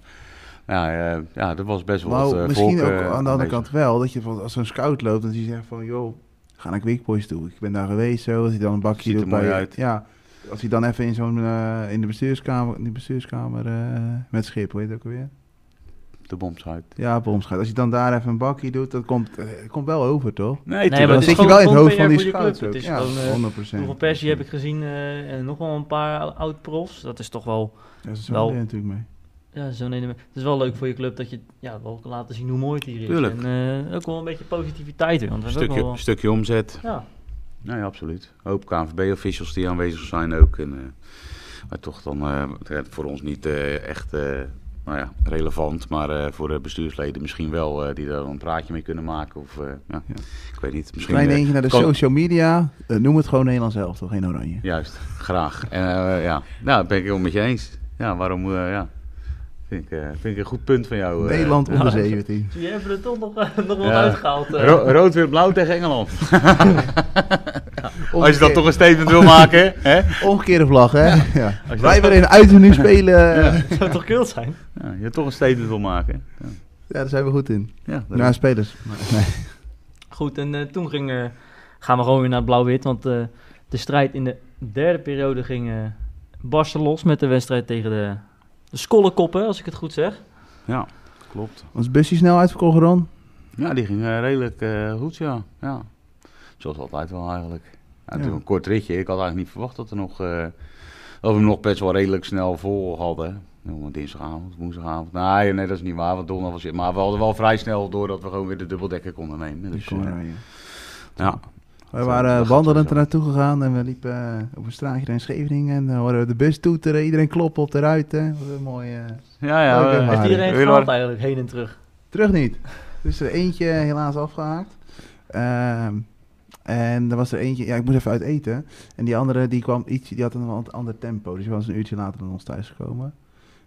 C: ja, eh ja dat was best wel wat
D: Nou,
C: eh,
D: misschien
C: volk, eh,
D: ook aan de andere
C: aanwezig.
D: kant wel, dat je van, als een scout loopt en die zegt van, joh, ga naar Quickboys toe. Ik ben daar geweest, zo. Als hij dan een bakje
C: Ziet er
D: doet
C: mooi
D: bij,
C: uit.
D: ja, als hij dan even in zo'n eh, in de bestuurskamer, in die bestuurskamer eh, met schip, hoe heet het ook alweer?
C: De bomsite.
D: Ja, Boms gaat. Als je dan daar even een bakje doet, dat komt, eh, het komt wel over, toch?
C: Nee,
A: maar
D: dan
A: het
C: tuurlijk.
A: is
D: zit je
A: gewoon-
D: wel in het
A: gewoon
D: hoofd van
A: PR
D: die
A: voor je
D: scouts
A: club.
D: ook.
A: Het is
D: Ja,
A: gewoon, eh,
D: 100%.
A: Hoeveel Persie heb ik gezien eh, en nog wel een paar oud-profs. Dat is toch wel,
D: Daar is
A: Wel.
D: wel natuurlijk mee.
A: ja, zo'n ene. Het is wel leuk voor je club dat je ja, wel kan laten zien hoe mooi het hier is.
C: Tuurlijk.
A: En eh, ook wel een beetje positiviteit. hè, Want we hebben ook
C: stukje,
A: wel,
C: stukje omzet.
A: ja,
C: Nou ja, absoluut. Een hoop KNVB-officials die aanwezig zijn ook. En, eh, maar toch dan eh, voor ons niet eh, echt eh, nou ja, relevant. Maar eh, voor de bestuursleden misschien wel. eh, die daar een praatje mee kunnen maken. Of eh, ja,
D: Ja.
C: ik weet niet. Misschien
D: Klein
C: eh,
D: eentje naar de
C: kan-
D: social media. Eh, noem het gewoon Nederlands zelf, toch? Geen oranje.
C: Juist, graag. En, eh, ja, nou, dat ben ik helemaal met je eens. Ja, waarom, eh, ja. Vind ik, eh, vind ik een goed punt van jou. eh.
D: Nederland onder
A: ja.
D: 17.
A: je hebt er toch nog, nog wel
C: Ja.
A: uitgehaald. eh.
C: Ro- rood, wit, blauw tegen Engeland. Als je dat toch een statement wil maken, hè?
D: Omgekeerde vlag, hè? Ja.
C: dat-
D: Wij waarin uit nu spelen. eh,
A: Dat zou toch cool zijn?
C: Ja, je toch een statement wil maken. Ja,
D: Ja, daar zijn we goed in.
C: ja
D: Na spelers. Nee.
A: Goed, en eh, toen ging, eh, gaan we gewoon weer naar blauw-wit. Want eh, de strijd in de derde periode ging eh barsten los met de wedstrijd tegen de, de skollenkoppen, als ik het goed zeg.
C: ja klopt.
D: Was busje snel uitverkocht, Ron?
C: Ja, die ging eh, redelijk eh, goed, ja. ja. Zoals altijd wel eigenlijk. Ja, toen
D: Ja.
C: een kort ritje. Ik had eigenlijk niet verwacht dat, er nog, eh, dat we hem nog best wel redelijk snel vol hadden. Nou, Dinsdagavond, woensdagavond. Nee, nee, dat is niet waar, want donderdag was het. Maar we hadden wel vrij snel door dat we gewoon weer de dubbeldekker konden nemen. Dus,
D: Kom
C: eh,
D: maar, ja.
C: ja.
D: We waren
C: Dat
D: eh,
C: gaat sowieso.
D: wandelend er naartoe gegaan en we liepen eh, op een straatje in Scheveningen. En dan hoorden we de bus toeteren, iedereen kloppen op de ruiten. Wat een mooie... eh,
C: Ja,
D: Leuk,
C: ja.
D: hè, maar.
A: Heeft
D: Aardig.
A: iedereen
C: Willem.
A: gehaald eigenlijk, heen en terug?
D: Terug niet. Dus er eentje helaas afgehaakt. Ehm, en er was er eentje, ja, ik moest even uit eten. En die andere, die kwam iets, die had een wat ander tempo. Dus die was een uurtje later dan ons thuis gekomen.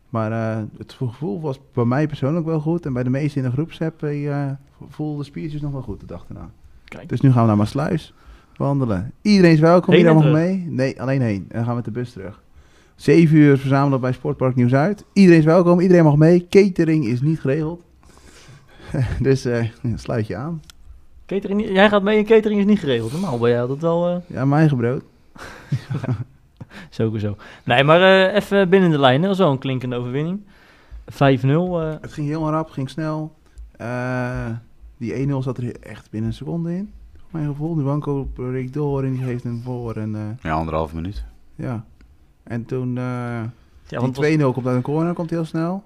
D: Maar eh, het gevoel was bij mij persoonlijk wel goed. En bij de meesten in de groepsapp eh voelde spiertjes nog wel goed de dag daarna.
A: Kijk.
D: Dus nu gaan we naar Maasluis wandelen. Iedereen is welkom.
A: Heen
D: Iedereen
A: en
D: mag mee? Nee, alleen heen. En dan gaan we met de bus terug. 7 uur verzamelen bij Sportpark Nieuw-Zuid. Iedereen is welkom, iedereen mag mee. Catering is niet geregeld. dus eh, sluit je aan.
A: Catering, niet- jij gaat mee en catering is niet geregeld. Normaal ben jij dat wel eh,
D: Ja, mijn eigen brood.
A: zo zo. Nee, maar eh, even binnen de lijnen. Dat was wel een klinkende overwinning. 5-0. eh,
D: Het ging heel rap, ging snel. Eh, die 1-0 zat er echt binnen een seconde in. Voor mijn gevoel. Nu Wanko breekt door en die geeft hem voor. En, eh,
C: Ja, anderhalf minuut.
D: ja. en toen, eh
A: ja,
D: die
A: want het was-
D: 2-0 komt uit een corner, komt heel snel.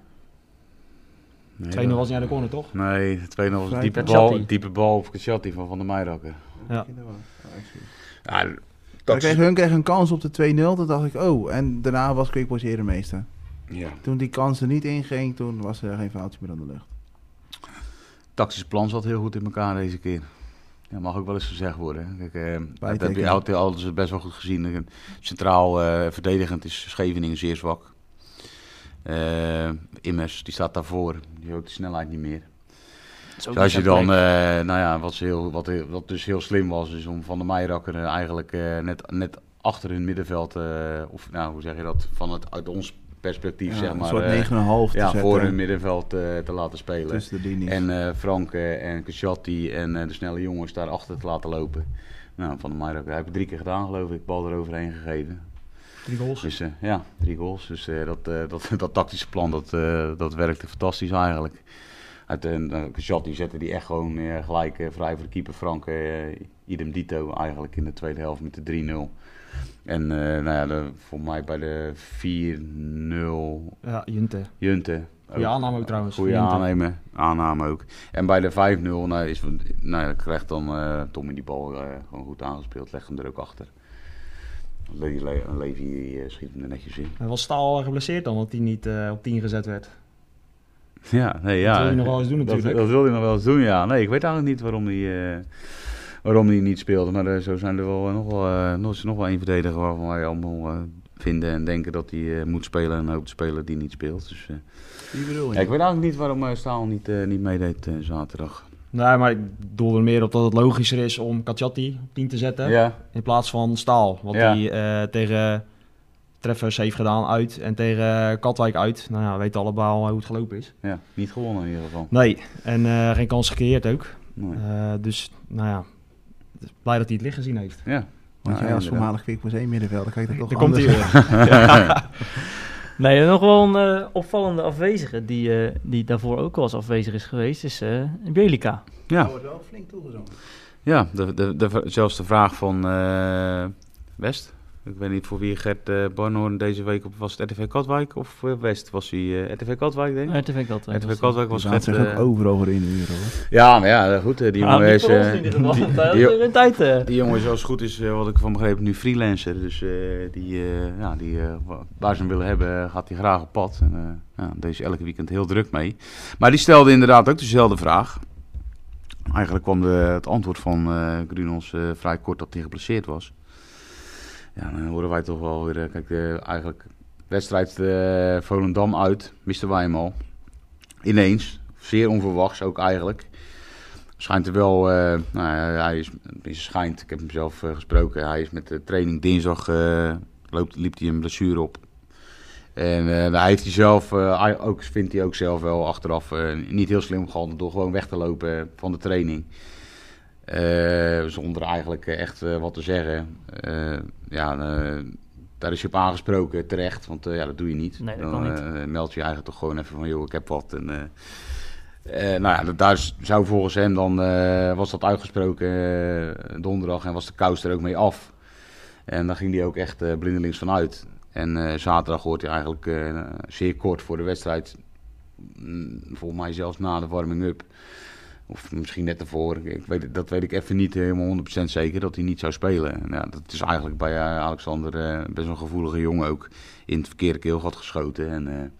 C: Nee,
B: 2-0 was niet aan de corner, toch?
C: Nee, 2-0 was een
D: Vrij-
C: diepe
A: Kachatti.
C: bal, diepe bal op Kachatti van Van der Meijrakker.
B: Ja.
C: Ja,
D: Dan
C: dat
D: kreeg hun kreeg een kans op de 2-0. Toen dacht ik, oh, en daarna was Quickboys meester.
C: ja.
D: Toen die kans er niet in ging, toen was er geen foutje meer aan de lucht.
C: tactisch plan zat heel goed in elkaar deze keer. Ja, mag ook wel eens gezegd worden. hè. Kijk, eh, dat heb je
D: tekenen.
C: altijd alles best wel goed gezien. Eh, Centraal eh, verdedigend is Scheveningen zeer zwak. Eh Immers, die staat daarvoor. Die heeft ook de snelheid niet meer.
A: het is ook
C: Dus als je
A: niet
C: dan,
A: zo'n plek.
C: eh, nou ja, wat, ze heel, wat, heel- wat dus heel slim was, is om Van de Meijrakker eh, eigenlijk eh, net, net achter hun middenveld, eh, of nou, hoe zeg je dat, van het, uit ons perspectief,
D: Ja,
C: zeg maar, eh,
D: een soort 9,5 te
C: ja,
D: zetten
C: voor hun middenveld eh, te laten spelen.
D: tussen de linies.
C: En eh, Frank eh, en Kachatti en eh, de snelle jongens daarachter te laten lopen. Nou, Van der Meijerakker, hij heeft het drie keer gedaan geloof ik, bal eroverheen gegeven.
B: Drie goals.
C: Dus eh, ja, drie goals. Dus eh, dat, eh, dat, dat tactische plan, dat, eh, dat werkte fantastisch eigenlijk. Uit, en eh, Kachatti zette die echt gewoon eh, gelijk eh, vrij voor de keeper Frank. eh, idem dito eigenlijk in de tweede helft met de 3-0. En eh, nou ja, de- voor mij bij de 4-0
B: Ja, Jinte.
C: Junte.
B: Goeie aanname ook trouwens.
C: Goede
B: Jente.
C: Oh. aanname, aanname ook. En bij de 5-0 nou, is, nou, ja, krijgt dan eh, Tommy die bal eh, gewoon goed aangespeeld. Legt hem er ook achter. Le Le- Levi eh, schiet hem er netjes in.
B: En was Staal eh, geblesseerd dan, dat hij niet eh, op 10 gezet werd?
C: Ja, nee, ja.
B: dat wil je nog wel eens doen
C: dat,
B: natuurlijk.
C: dat wil hij nog wel eens doen, ja. Nee, ik weet eigenlijk niet waarom die, eh, waarom die niet speelde. Maar eh, zo zijn er wel eh, nog wel, eh, nog, is er nog wel één verdediger waarvan wij allemaal eh, vinden en denken dat hij eh, moet spelen en ook de speler die niet speelt. Dus, eh,
D: Die bedoel
C: ja, ik weet eigenlijk niet waarom eh, Staal niet, eh, niet meedeed eh, zaterdag.
B: Nee, maar ik doel er meer op dat het logischer is om Kachati op 10 te zetten.
C: Ja,
B: In plaats van Staal. Wat
C: Ja.
B: hij eh, tegen Treffers heeft gedaan uit. En tegen Katwijk uit. Nou ja, we weten allemaal hoe het gelopen is.
C: ja, niet gewonnen in ieder geval.
B: Nee, en eh, geen kans gecreëerd ook.
C: Nee.
B: Eh, dus, nou ja. dus Blij dat hij het licht gezien heeft.
C: Ja.
D: Want
C: Ja,
D: jij als
C: inderdaad.
D: voormalig Quickboys 1 middenvelder, kijk dat toch
B: Daar komt hij
D: anders-
B: weer.
A: Nee, en nog wel een eh, opvallende afwezige die, eh, die daarvoor ook wel eens afwezig is geweest, is eh Belica.
C: ja.
D: wordt wel flink toegezongen.
C: Ja, de, de, de, zelfs de vraag van eh, West. Ik weet niet voor wie Gert eh Barnhoorn deze week op was. Het RTV Katwijk of eh, West? Was hij eh, RTV Katwijk, denk ik?
A: RTV Katwijk.
C: RTV Katwijk was
D: Ze
C: Gert.
D: zich ook
C: eh,
D: overal voor in de uren hoor.
C: ja, maar ja, goed. eh, die,
A: Ah,
C: jongen
A: niet
C: is,
A: voor ons
C: eh,
A: in ieder geval,
C: die-
A: want hij had
C: die-
A: er een tijd. eh.
C: die jongen is, als het goed is, eh, wat ik van begreep, nu freelancer. Dus eh, die, eh, ja, die, eh, wa- waar ze hem willen hebben, eh, gaat hij graag op pad. En, eh, ja, deze elke weekend heel druk mee. Maar die stelde inderdaad ook dezelfde vraag. Eigenlijk kwam de, het antwoord van eh Grunels eh, vrij kort dat hij geblesseerd was. Ja, dan horen wij toch wel weer... eh, kijk, eh, eigenlijk wedstrijd eh, Volendam uit, misten wij hem al. Ineens, zeer onverwachts ook eigenlijk. Schijnt er wel, eh, nou ja, hij is, is schijnt, ik heb hem zelf eh, gesproken, hij is met de training dinsdag, eh, loopt, liep hij een blessure op. En eh, hij heeft hij zelf, eh, hij ook, vindt hij ook zelf wel achteraf eh, niet heel slim gehandeld door gewoon weg te lopen van de training. Eh, zonder eigenlijk eh, echt eh, wat te zeggen. Eh, ja, eh, daar is je op aangesproken terecht, want eh, ja, dat doe je niet.
A: Nee, dat
C: Dan
A: kan niet.
C: eh, meld je je eigen toch gewoon even van, joh, ik heb wat. En, eh, eh, nou ja, dat- daar is- zou volgens hem dan, eh, was dat uitgesproken eh, donderdag en was de kous er ook mee af. En daar ging hij ook echt eh, blindelings vanuit. En eh, zaterdag hoort hij eigenlijk eh, zeer kort voor de wedstrijd, mm, volgens mij zelfs na de warming-up. Of misschien net ervoor, ik ik weet, het- dat weet ik even niet helemaal 100% zeker, dat hij niet zou spelen. En Ja, dat is eigenlijk bij eh, Alexander eh, best wel een gevoelige jongen ook in het verkeerde keelgat geschoten. En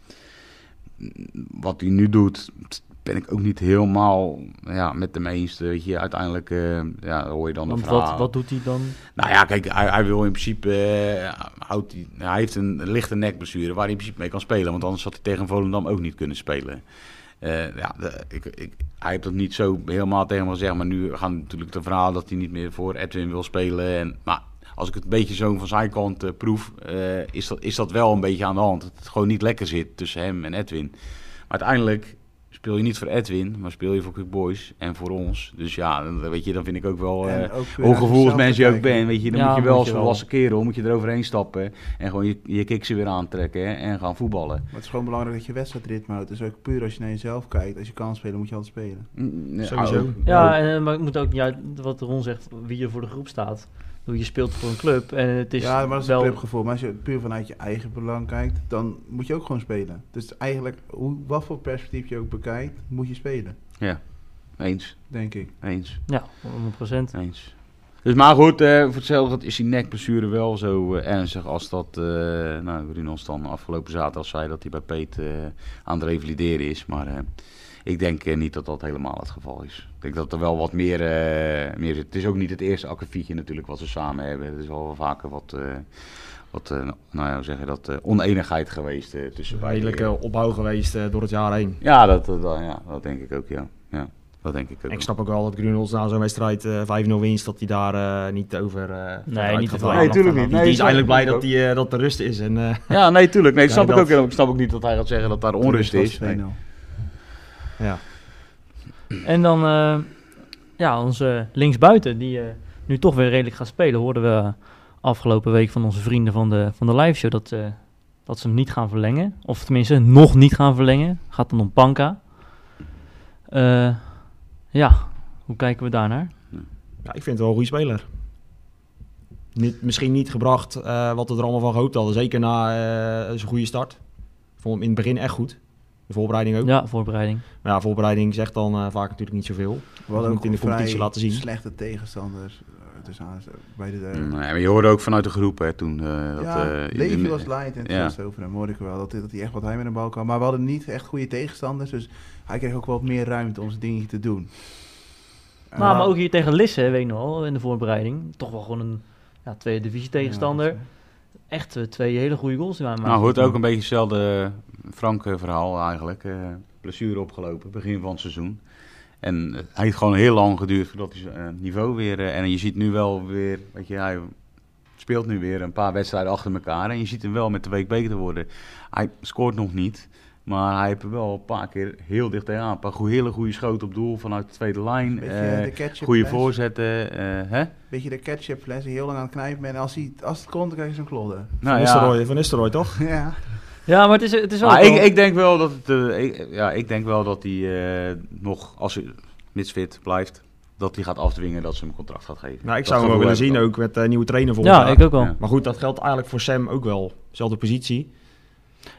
C: eh, wat hij nu doet, ben ik ook niet helemaal ja, met hem eens. Weet je, uiteindelijk eh, ja, hoor je dan
A: Want
C: de verhaal.
A: wat, wat doet hij dan?
C: Nou ja, kijk, hij, hij wil in principe. eh, houdt hij, hij heeft een lichte nekblessure waar hij in principe mee kan spelen. Want anders had hij tegen Volendam ook niet kunnen spelen. Eh, ja, de- ik, ik, hij heeft dat niet zo helemaal tegen me gezegd. Maar nu gaan natuurlijk de verhalen dat hij niet meer voor Edwin wil spelen. En, maar als ik het een beetje zo van zijn kant eh, proef, eh, is, dat, is dat wel een beetje aan de hand. Dat het gewoon niet lekker zit tussen hem en Edwin. Maar uiteindelijk speel je niet voor Edwin, maar speel je voor Quick Boys en voor ons. Dus ja, dan, weet je, dan vind ik ook wel... eh, hoe gevoelig mens je ook bent, weet je, dan
A: Ja,
C: moet je wel
A: moet
C: als
A: je
C: een
A: wel.
C: volwassen kerel, moet je eroverheen stappen en gewoon je, je kiksen weer aantrekken hè, en gaan voetballen.
D: Maar het is gewoon belangrijk dat je wedstrijdritme houdt. Dus ook puur als je naar jezelf kijkt. Als je kan spelen, moet je altijd spelen.
C: Mm, nee,
B: Sowieso.
C: ook-
A: Ja, en, eh, maar ik moet ook niet uit wat Ron zegt, wie er voor de groep staat. Ik bedoel, Je speelt voor een club en het is
D: ja, maar dat is
A: wel...
D: een clubgevoel. Maar als je puur vanuit je eigen belang kijkt, dan moet je ook gewoon spelen. Dus eigenlijk, hoe, wat voor perspectief je ook bekijkt, moet je spelen.
C: Eens,
D: Denk ik.
C: eens,
A: Ja, 100
C: eens. Dus maar goed, eh, voor hetzelfde is die nekblessure wel zo eh, ernstig als dat, eh nou, Runos dan afgelopen zaterdag zei dat hij bij Peet eh, aan het revalideren is. Maar eh, ik denk eh, niet dat dat helemaal het geval is. Ik denk dat er wel wat meer, eh, meer zit. Het is ook niet het eerste akkefietje natuurlijk wat ze samen hebben. Het is wel vaker wat, eh, wat eh, nou ja, hoe zeg je dat, eh oneenigheid geweest eh, tussen
B: Een
C: beide
B: redelijke opbouw geweest eh, door het jaar heen.
C: Ja, dat, dat, dat- ja, dat denk ik ook, ja. ja dat denk ik ook.
B: En Ik snap ook wel dat Grunels na zo'n wedstrijd eh, 5-0 winst, dat hij daar eh, niet over eh, uit
A: niet
B: gaat
A: te veel.
B: wijken.
A: Nee,
C: tuurlijk
B: Die-
C: niet.
B: die,
C: Nee,
B: is
C: zo-
B: eigenlijk blij
C: ik
B: dat,
C: ook.
B: die, eh, dat de rust is. En, eh,
C: Ja, nee, tuurlijk. Nee, dat
B: Ja,
C: snap ik
B: dat-
C: ook. helemaal. Ik snap ook niet dat hij gaat zeggen dat daar onrust
D: Dat nou.
C: is.
D: was 2-0.
B: ja.
A: En dan eh, ja, onze linksbuiten, die eh, nu toch weer redelijk gaat spelen, hoorden we afgelopen week van onze vrienden van de, van de live show dat, eh, dat ze hem niet gaan verlengen. Of tenminste, nog niet gaan verlengen. Gaat dan om Panka. Eh, ja, hoe kijken we daarnaar?
B: Ja, ik vind het wel een goede speler. Niet, misschien niet gebracht eh, wat we er allemaal van gehoopt hadden. Zeker na eh zijn goede start. Ik vond hem in het begin echt goed. De voorbereiding ook.
A: Ja, voorbereiding.
B: Maar ja, voorbereiding zegt dan eh, vaak natuurlijk niet zoveel.
D: We hadden
B: moet
D: ook
B: in de
D: vrij
B: competitie laten zien.
D: slechte tegenstanders. eh, Dus aan, bij de, eh,
C: Nee, maar je hoorde ook vanuit de groep hè, toen. eh, dat,
D: ja,
C: eh,
D: Levy
C: in-
D: was leid en het
C: ja.
D: was over hem, hoorde ik wel. Dat, dat hij echt wat hij met een bal kan. Maar we hadden niet echt goede tegenstanders. Dus hij kreeg ook wat meer ruimte om zijn dingetje te doen. En
A: Nou,
D: we-
A: maar ook hier tegen Lisse, weet je nog wel, in de voorbereiding. Toch wel gewoon een ja, tweede divisie tegenstander.
D: Ja,
A: Echt eh, twee hele goede goals die wij maken.
C: Nou, hoort ook een beetje hetzelfde eh, Frank-verhaal eigenlijk. Eh blessure opgelopen, begin van het seizoen. En het heeft gewoon heel lang geduurd voordat hij zijn eh, niveau weer... eh, en je ziet nu wel weer, weet je, hij speelt nu weer een paar wedstrijden achter elkaar. En je ziet hem wel met de week beter worden. Hij scoort nog niet, maar hij heeft er wel een paar keer heel dicht tegenaan. Een paar goe- hele goede schoten op doel vanuit de tweede lijn.
D: Beetje
C: eh,
D: de ketchup
C: goede
D: fles.
C: voorzetten, eh, hè?
D: Beetje de ketchup fles die heel lang aan het knijpen bent. En als, hij, als het komt, dan krijg je zo'n klodder.
C: Nou
B: van, Nistelrooy, van Nistelrooy, toch?
D: ja.
A: Ja, maar het is, het is wel...
C: Maar
A: wel-
C: Ah, ik, ik denk wel dat het, eh, ik, ja, ik denk wel dat hij eh, nog, als hij mits fit blijft, dat hij gaat afdwingen dat ze hem een contract gaat geven.
B: Nou, ik
C: Dat
B: zou hem wel
C: geloof
B: willen zien
C: wel.
B: ook met eh, nieuwe trainer volgend
A: ja,
B: jaar.
A: ik ook wel.
C: Ja.
A: Ja,
B: Maar goed, dat geldt eigenlijk voor Sam ook wel. Zelfde positie.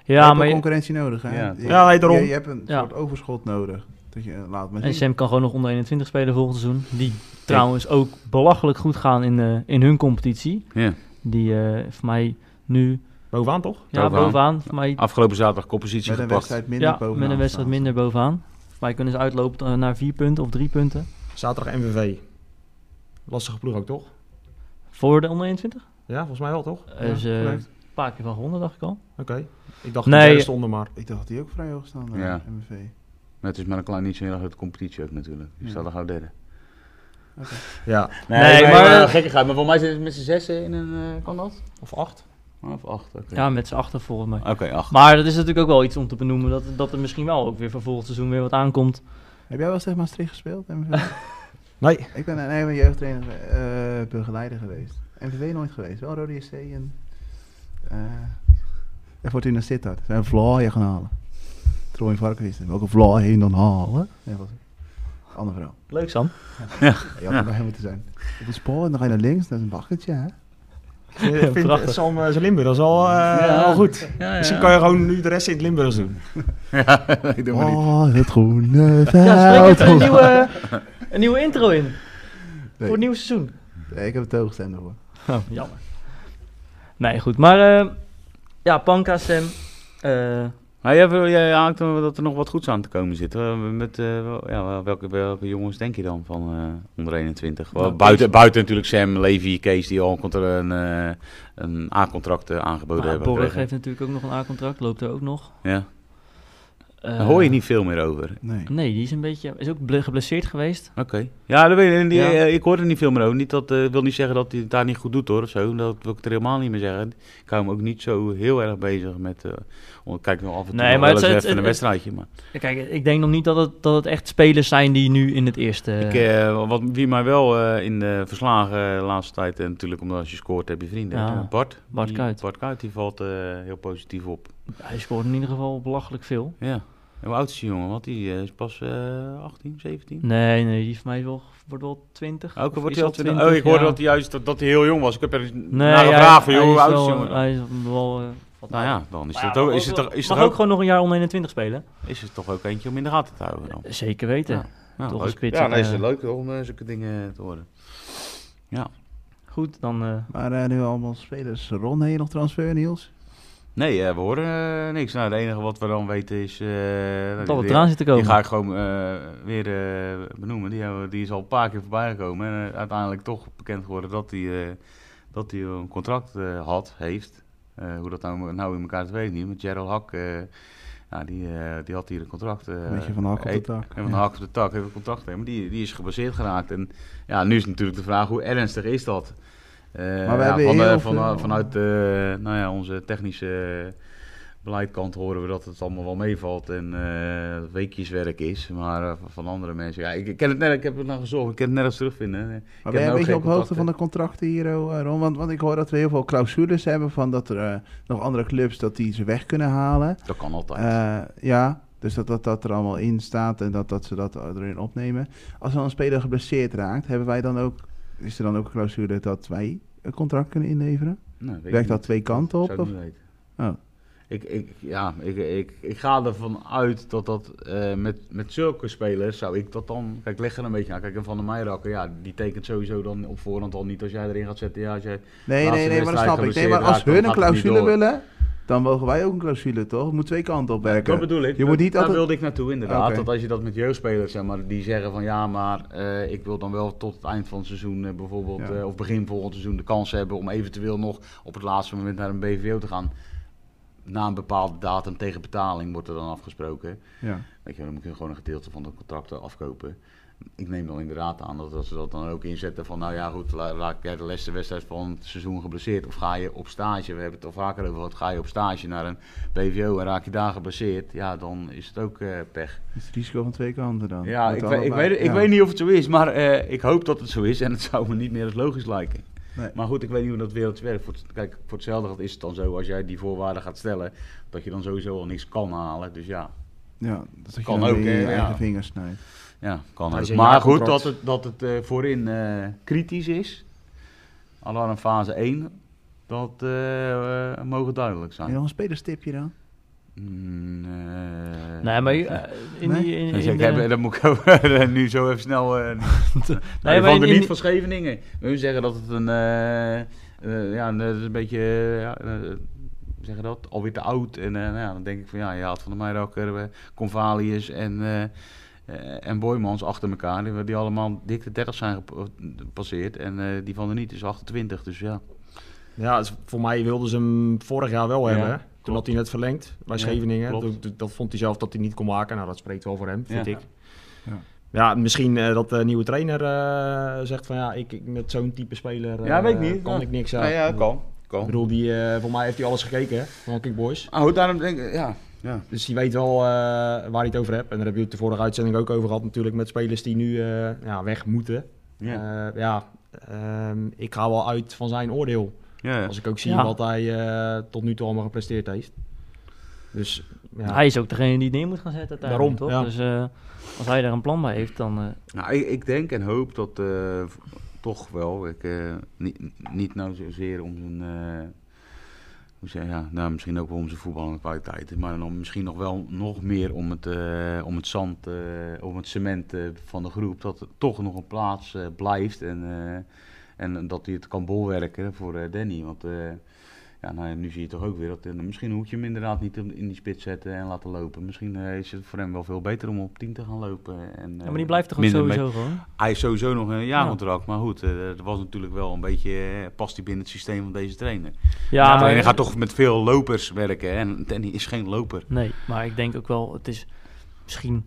A: maar...
D: maar
A: je-
D: concurrentie nodig, hè?
C: Ja.
D: Je-
B: Ja, nee, daarom.
D: Je, je hebt een
A: Ja.
D: soort overschot nodig. Dat je, eh, laat maar
A: En
D: zien.
A: Sam kan gewoon nog onder 21 spelen volgend seizoen. Die trouwens ook belachelijk goed gaan in, eh, in hun competitie.
C: Ja.
A: Die eh, voor mij nu
B: Bovenaan toch?
A: ja,
C: Bovenaan. Ah,
A: bovenaan. Voor mij
C: Afgelopen zaterdag koppositie
D: Met een
C: gepakt.
D: wedstrijd minder
A: ja,
D: bovenaan
A: met een wedstrijd
D: staan.
A: minder bovenaan. Voor mij kunnen ze uitlopen tot- naar vier punten of drie punten.
B: Zaterdag MVV. Lastige ploeg ook, toch?
A: Voor de onder 21.
B: Ja, volgens mij wel, toch?
A: Er is eh, een paar keer van gewonnen, dacht ik al.
B: Oké. Ik dacht
A: Nee.
B: nee. de onder, maar...
D: Ik dacht dat die ook vrij hoog staan,
C: Ja.
D: ja. MVV.
C: Maar het is maar dus een klein niet zo'n hele grote competitie ook natuurlijk. Die
D: Ja.
C: staat er gauw derde.
B: Ja.
A: Nee, Nee, maar- maar-
C: gekkigheid. Maar voor mij zitten ze met z'n zessen in een, eh, kan dat?
B: Of acht.
C: Of acht, oké.
A: Ja, met z'n achter volgens mij.
C: Oké, acht.
A: Maar dat is natuurlijk ook wel iets om te benoemen. Dat, dat er misschien wel ook weer voor volgend seizoen weer wat aankomt.
D: Heb jij wel eens tegen Maastricht gespeeld, MVV?
B: Nee.
D: ik ben een ik ben jeugdtrainer, eh, begeleider geweest. MVV nooit geweest. Wel Rode SC en... eh en Fortuna Sittard. Zijn een vlaaien gaan halen. Troy Varkens is Welke vlaaien dan halen? Nee, was het. Ander verhaal.
A: Leuk, Sam.
D: Je had er bij moeten zijn. Op het spoor en dan ga je naar links. Dat is een waggertje, hè?
B: Ik vind
A: Prachtig.
B: het Sam eh, zijn Limburg, dat is al, eh,
C: Ja.
B: al goed.
C: Ja,
B: Misschien kan je gewoon nu de rest in het Limburgs doen.
C: Ja, ik doe maar niet.
D: Oh, het groene veld.
A: Ja, spreek er een nieuwe, een nieuwe intro in. Voor het
D: Nee.
A: nieuwe seizoen.
D: Nee, ik heb het hooggestemd hoor.
A: Oh, jammer. Nee, goed. Maar eh, ja, Panka, Sam. eh,
C: Maar jij, wil- jij haakt er- dat er nog wat goeds aan te komen zit. Eh, Met, eh, wel- ja, wel- welke, welke jongens denk je dan van eh, onder 21? Wel,
A: Nou,
C: buiten, buiten natuurlijk Sam, Levy, Kees die al een, contra- een, eh, een A-contract eh, aangeboden
A: nou,
C: hebben.
A: Borg
C: gekregen.
A: heeft natuurlijk ook nog een A-contract, loopt er ook nog.
C: Ja.
A: Eh,
C: Daar hoor je niet veel meer over. Oké.
D: Nee.
A: Nee, die is een beetje, is ook ble- geblesseerd geweest.
C: Ja, dat weet ik, die-
A: Ja.
C: eh, ik hoor er niet veel meer over. Niet dat eh, wil niet zeggen dat hij het daar niet goed doet hoor, of zo. Dat wil ik het er helemaal niet meer zeggen. Ik hou hem ook niet zo heel erg bezig met... eh, om- kijk nog af en toe
A: Nee,
C: nog
A: maar
C: wel
A: het-
C: eens even
A: het-
C: een
A: het-
C: wedstrijdje. Maar.
A: Ja, Kijk, ik denk nog niet dat het, dat het echt spelers zijn die nu in het eerste...
C: Ik, eh, wat, wie mij wel eh, in de verslagen eh, de laatste tijd, en natuurlijk omdat als je scoort heb je vrienden.
A: Ja.
C: Eh, Bart,
A: Bart
C: die,
A: Kuyt.
C: Bart Kuyt, die valt eh, heel positief op.
A: Hij scoort in ieder geval belachelijk veel.
C: Ja. En Hoe oud is die jongen? Want die eh, is pas eh 18, 17?
A: Nee, nee, die van mij wel, wordt wel 20.
C: Ook al
A: Of
C: wordt
A: is
C: hij al
A: al
C: 20.
A: 20,
C: Oh, ik hoorde
A: ja.
C: dat hij juist dat, dat hij heel jong was. Ik heb er eens
A: Nee,
C: naar
A: hij-
C: gevraagd van,
A: hij
C: joh, hoe
A: is
C: oud is
A: wel-
C: die jongen dan?
A: Hij is wel... eh, wat
C: Nou
A: ouder.
C: ja, dan is
A: Maar
C: het
A: ja,
C: ook,
A: mag
C: is het
A: wel-
C: er, is
A: mag
C: er ook,
A: ook gewoon nog een jaar onder 21 spelen.
C: is er toch ook eentje om in de gaten te houden dan?
A: Zeker weten.
C: Ja. Ja,
A: Toch een
C: leuk.
A: spits,
C: Ja, nee,
A: eh,
C: is het leuk om eh, zulke dingen te horen.
A: Goed, dan... eh,
D: Maar eh, nu allemaal spelers. Ron, heb je nog transfer, Niels?
C: Nee, eh, we horen eh, niks. Nou, het enige wat we dan weten is... eh, nou,
A: dat
C: die-
A: het eraan zit te komen.
C: Die ga ik gewoon eh, weer eh, benoemen. Die, hebben we- die is al een paar keer voorbij gekomen. En eh, uiteindelijk toch bekend geworden dat hij eh, dat hij een contract eh, had, heeft. Eh, hoe dat nou, nou in elkaar zit, weet ik niet. Maar Gerald Hak, eh, ja, die, eh, die had hier een contract. eh,
D: Een beetje van de hak op de
C: eh,
D: tak.
C: en van de hak op de tak heeft een contract. mee, Maar die, die is gebaseerd geraakt. En ja, nu is natuurlijk de vraag hoe ernstig is dat? Eh,
D: Maar we
C: ja,
D: hebben
C: van, de-
D: heel
C: van-
D: veel-
C: vanuit eh, nou ja, onze technische beleidkant horen we dat het allemaal wel meevalt en eh, weekjeswerk is. Maar eh, van andere mensen, ja, ik, ik ken het nergens, ik heb het naar gezocht, ik kan het nergens terugvinden. Eh,
D: Maar
C: heb
D: ben jij
C: ook
D: een beetje
C: geen
D: op de hoogte
C: contacten.
D: van de contracten hier, oh, eh, Ron? Want, want ik hoor dat we heel veel clausules hebben van dat er eh, nog andere clubs dat die ze weg kunnen halen.
C: Dat kan altijd.
D: Eh, ja, dus dat, dat dat er allemaal in staat en dat, dat ze dat erin opnemen. Als dan een speler geblesseerd raakt, hebben wij dan ook, is er dan ook een clausule dat wij een contract kunnen inleveren?
C: Nou, weet ik
D: Werkt dat
C: niet.
D: twee kanten op?
C: Zou ik
D: Of?
C: niet weten.
D: Oh.
C: Ik, ik, ja, ik, ik, ik ga ervan uit dat dat eh, met, met zulke spelers zou ik dat dan... Kijk, leg er een beetje aan. Kijk, en Van der Meijerakker, ja, die tekent sowieso dan op voorhand al niet als jij erin gaat zetten. Ja, als jij
D: Nee,
C: Laatste
D: nee, nee, maar dat
C: wedstrijd
D: snap ik. Nee, maar
C: geblesseerd
D: als
C: raakt, dan
D: hun een
C: gaat het niet
D: clausule
C: door.
D: willen, dan mogen wij ook een clausule, toch? Het moet twee kanten op werken.
C: Dat bedoel ik.
D: Je moet niet
C: Daar
D: altijd...
C: wilde ik naartoe inderdaad.
D: Oké.
C: Dat als je dat met jeugdspelers, zeg maar, die zeggen van ja, maar eh, ik wil dan wel tot het eind van het seizoen eh, bijvoorbeeld,
D: Ja.
C: eh, of begin volgend seizoen, de kans hebben om eventueel nog op het laatste moment naar een BVO te gaan. Na een bepaalde datum tegen betaling wordt er dan afgesproken.
D: Ja.
C: Weet je, dan moet je gewoon een gedeelte van de contracten afkopen. Ik neem dan inderdaad aan dat, dat ze dat dan ook inzetten van, nou ja goed, la- raak jij de laatste wedstrijd van het seizoen geblesseerd of ga je op stage, we hebben het al vaker over gehad, ga je op stage naar een BVO en raak je daar geblesseerd, ja dan is het ook eh, pech.
D: Dus het risico van twee kanten dan.
C: Ja,
D: Moet
C: ik,
D: allebei-
C: weet, ik
D: ja.
C: weet niet of het zo is, maar eh, ik hoop dat het zo is en het zou me niet meer als logisch lijken.
D: Nee.
C: Maar goed, ik weet niet hoe dat wereld werkt. Voor, het- kijk, voor hetzelfde geld is het dan zo, als jij die voorwaarden gaat stellen, dat je dan sowieso al niks kan halen. Dus ja,
D: Ja, dat je
C: Kan
D: dan
C: ook,
D: weer
C: hè,
D: je
C: ja.
D: eigen vingers snijdt.
C: Ja, kan
B: Hij
C: ook.
B: is een
C: Maar goed,
B: jaarcontract.
C: dat het, dat het eh, voorin eh, kritisch is, alarm fase 1, dat eh, eh, mogen duidelijk
D: En
C: zijn.
D: nog een spelerstipje dan?
C: Mm, eh,
A: Nee, maar
C: eh,
A: eh, in
D: Nee?
A: die... In, in,
C: dus ik
A: de-
C: heb, dat moet ik ook nu zo even snel... eh nee,
A: nee, maar
C: van de
A: in- in-
C: niet van Scheveningen. We zeggen dat het een... eh, eh, ja, dat is een beetje... eh, ja, eh, hoe zeg je dat? Alweer te oud. En eh, nou ja, dan denk ik van ja, je haalt van de Meijer uh, Convalius en, eh, eh, en Boymans achter elkaar. Die, die allemaal dik de 30 zijn gep- gepasseerd. En eh, die van de Niet is 28. Dus ja.
B: Ja, dus voor mij wilden ze hem vorig jaar wel
C: Ja,
B: hebben. hè. Toen
C: klopt.
B: had hij net verlengd bij
C: Ja,
B: Scheveningen.
C: klopt.
B: Toen- toen- dat vond hij zelf dat hij niet kon maken. Nou, dat spreekt wel voor hem, vind
C: Ja.
B: ik.
D: Ja.
B: Ja. misschien eh, dat de nieuwe trainer eh, zegt van ja, ik, ik met zo'n type speler eh,
C: Ja, weet ik niet.
B: kan
C: Ja.
B: ik niks aan.
C: Nou ja, kan.
B: Ik
C: kan.
B: bedoel, die, eh, voor mij heeft hij alles gekeken hè, van Kickboys.
C: Oh, daarom denk ik... Ja. ja.
B: Dus die weet wel eh, waar hij het over hebt. En daar heb je het de vorige uitzending ook over gehad natuurlijk met spelers die nu eh, ja, weg moeten.
C: Ja.
B: Eh, ja ehm, ik ga wel uit van zijn oordeel.
C: ja.
B: Als ik ook zie
A: Ja.
B: wat hij eh, tot nu toe allemaal gepresteerd heeft. Dus ja.
A: Hij is ook degene die het neer moet gaan zetten uiteindelijk,
B: Daarom,
A: toch?
B: ja.
A: Dus eh, als hij daar een plan bij heeft, dan... eh,
C: Nou, ik, ik denk en hoop dat eh, v- toch wel, ik, eh, niet, niet nou zozeer om zijn, eh, hoe zeg, ja, nou, misschien ook wel om zijn voetballende kwaliteiten, maar dan misschien nog wel nog meer om het, eh, om het zand, eh, om het cement eh, van de groep, dat er toch nog een plaats eh, blijft en, eh, en dat hij het kan bolwerken voor eh, Danny, want... eh, ja, nou ja, nu zie je toch ook weer dat eh, misschien moet je hem inderdaad niet in in die spits zetten en laten lopen. Misschien eh, is het voor hem wel veel beter om op 10 te gaan lopen. En, eh,
A: ja, maar die blijft toch
C: minder mee-
A: sowieso gewoon?
C: hij heeft sowieso nog een
A: Ja.
C: jaarcontract, maar goed, eh, er was natuurlijk wel een beetje, eh, past hij binnen het systeem van deze trainer.
A: Ja,
C: de
A: maar...
C: trainer gaat toch met veel lopers werken hè, en Danny is geen loper.
A: Nee, maar ik denk ook wel, het is... Misschien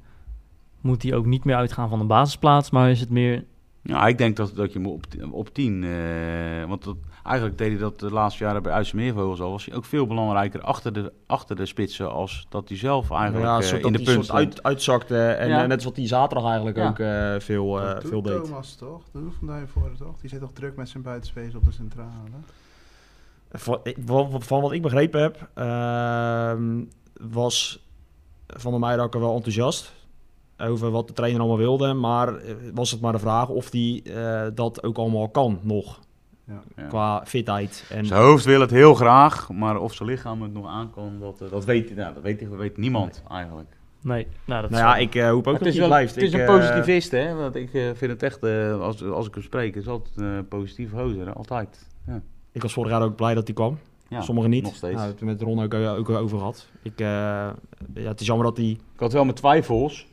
A: moet hij ook niet meer uitgaan van een basisplaats, maar is het meer...
C: Ja, ik denk dat, dat je hem op, t- op tien, eh, want dat, eigenlijk deed hij dat de laatste jaren bij IJsselmeervogels al, was hij ook veel belangrijker achter de, achter de spitsen als dat hij zelf eigenlijk
B: ja, een
C: eh,
B: soort
C: in de
B: dat hij
C: punt
B: soort
C: stond.
B: uit, uitzakte. En
C: Ja.
B: eh, net zoals hij zaterdag eigenlijk
C: Ja.
B: ook eh, veel, eh,
D: Oh, Dat doet
B: veel deed.
D: Thomas toch? Dat doet Van Duivenvoorde toch? Die zit toch druk met zijn buitenspace op de centrale?
B: Van, ik- van, van wat ik begrepen heb, ehm, was Van der Meijer wel enthousiast over wat de trainer allemaal wilde. Maar eh, was het maar de vraag of hij eh, dat ook allemaal kan nog.
D: Ja.
C: Ja.
B: Qua fitheid. En,
C: Zijn hoofd wil het heel graag, maar of zijn lichaam het nog aan kan, dat, eh, dat, weet, nou, dat weet, weet niemand eigenlijk.
A: Nee, nou dat
B: nou
A: zal-
B: ja, ik eh, hoop ook
C: het
B: dat hij
C: is, wel,
B: blijft.
C: het is
B: Ik,
C: een
B: eh,
C: positivist, hè? Want ik eh, vind het echt, eh, als, als ik hem spreek, is altijd een positief hozer, hè, altijd.
B: Ik was vorig jaar ook blij dat hij kwam.
C: Ja,
B: Sommigen niet.
C: Nog steeds.
B: Nou, we hebben het met Ron ook, ook over gehad. Ik, eh, ja, het is jammer dat hij,
C: ik had wel mijn twijfels,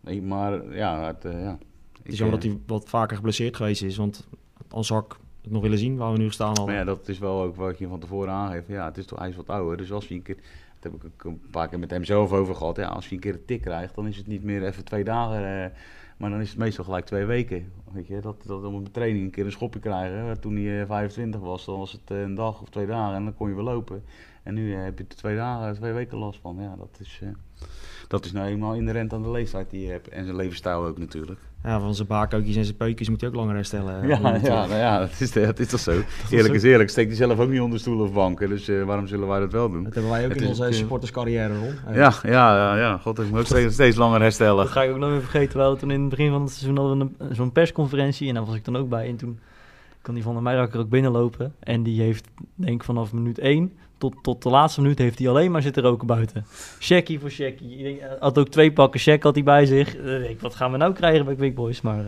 C: nee, maar ja, het, eh, ja.
B: het
C: Ik,
B: is jammer
C: eh,
B: dat hij wat vaker geblesseerd geweest is. Want anders had ik het nog willen zien waar we nu gestaan hadden.
C: Maar ja, dat is wel ook wat je van tevoren aangeeft. Ja, het is toch, hij is wat ouder, dus als hij een keer... Dat heb ik ook een paar keer met hem zelf over gehad. Ja, als je een keer een tik krijgt, dan is het niet meer even twee dagen... eh, maar dan is het meestal gelijk twee weken. Weet je, dat, dat om een training een keer een schopje krijgen. Toen hij eh, 25 was, dan was het eh, een dag of twee dagen en dan kon je weer lopen. En nu eh, heb je er twee dagen, twee weken last van. Ja, dat is, eh, dat is nou eenmaal inherent aan de leeftijd die je hebt. En zijn levensstijl ook natuurlijk.
B: Ja, van zijn baarkootjes en zijn peukjes moet hij ook langer herstellen. eh,
C: Ja, ja,
B: Natuurlijk.
C: nou ja dat, is, dat is toch zo. eerlijk is eerlijk, steekt hij zelf ook niet onder stoelen of banken. Dus eh, waarom zullen wij dat wel doen?
B: Dat hebben wij ook
C: Het
B: in
C: is
B: onze
C: natuurlijk-
B: supporterscarrière, Ron. Eh,
C: Ja, ja, ja, ja. God, ik moet ook steeds, steeds langer herstellen.
A: Dat ga ik ook nooit meer vergeten. We hadden toen in het begin van het seizoen hadden we een- zo'n persconferentie. En daar was ik dan ook bij. En toen kon die Van der Meijerakker ook binnenlopen. En die heeft, denk ik, vanaf minuut 1 tot, tot de laatste minuut... heeft hij alleen maar zitten roken buiten. Shackie voor Shackie. Ik denk, hij had ook twee pakken check had hij bij zich. Eh, ik, wat gaan we nou krijgen bij Quick Boys? Maar eh,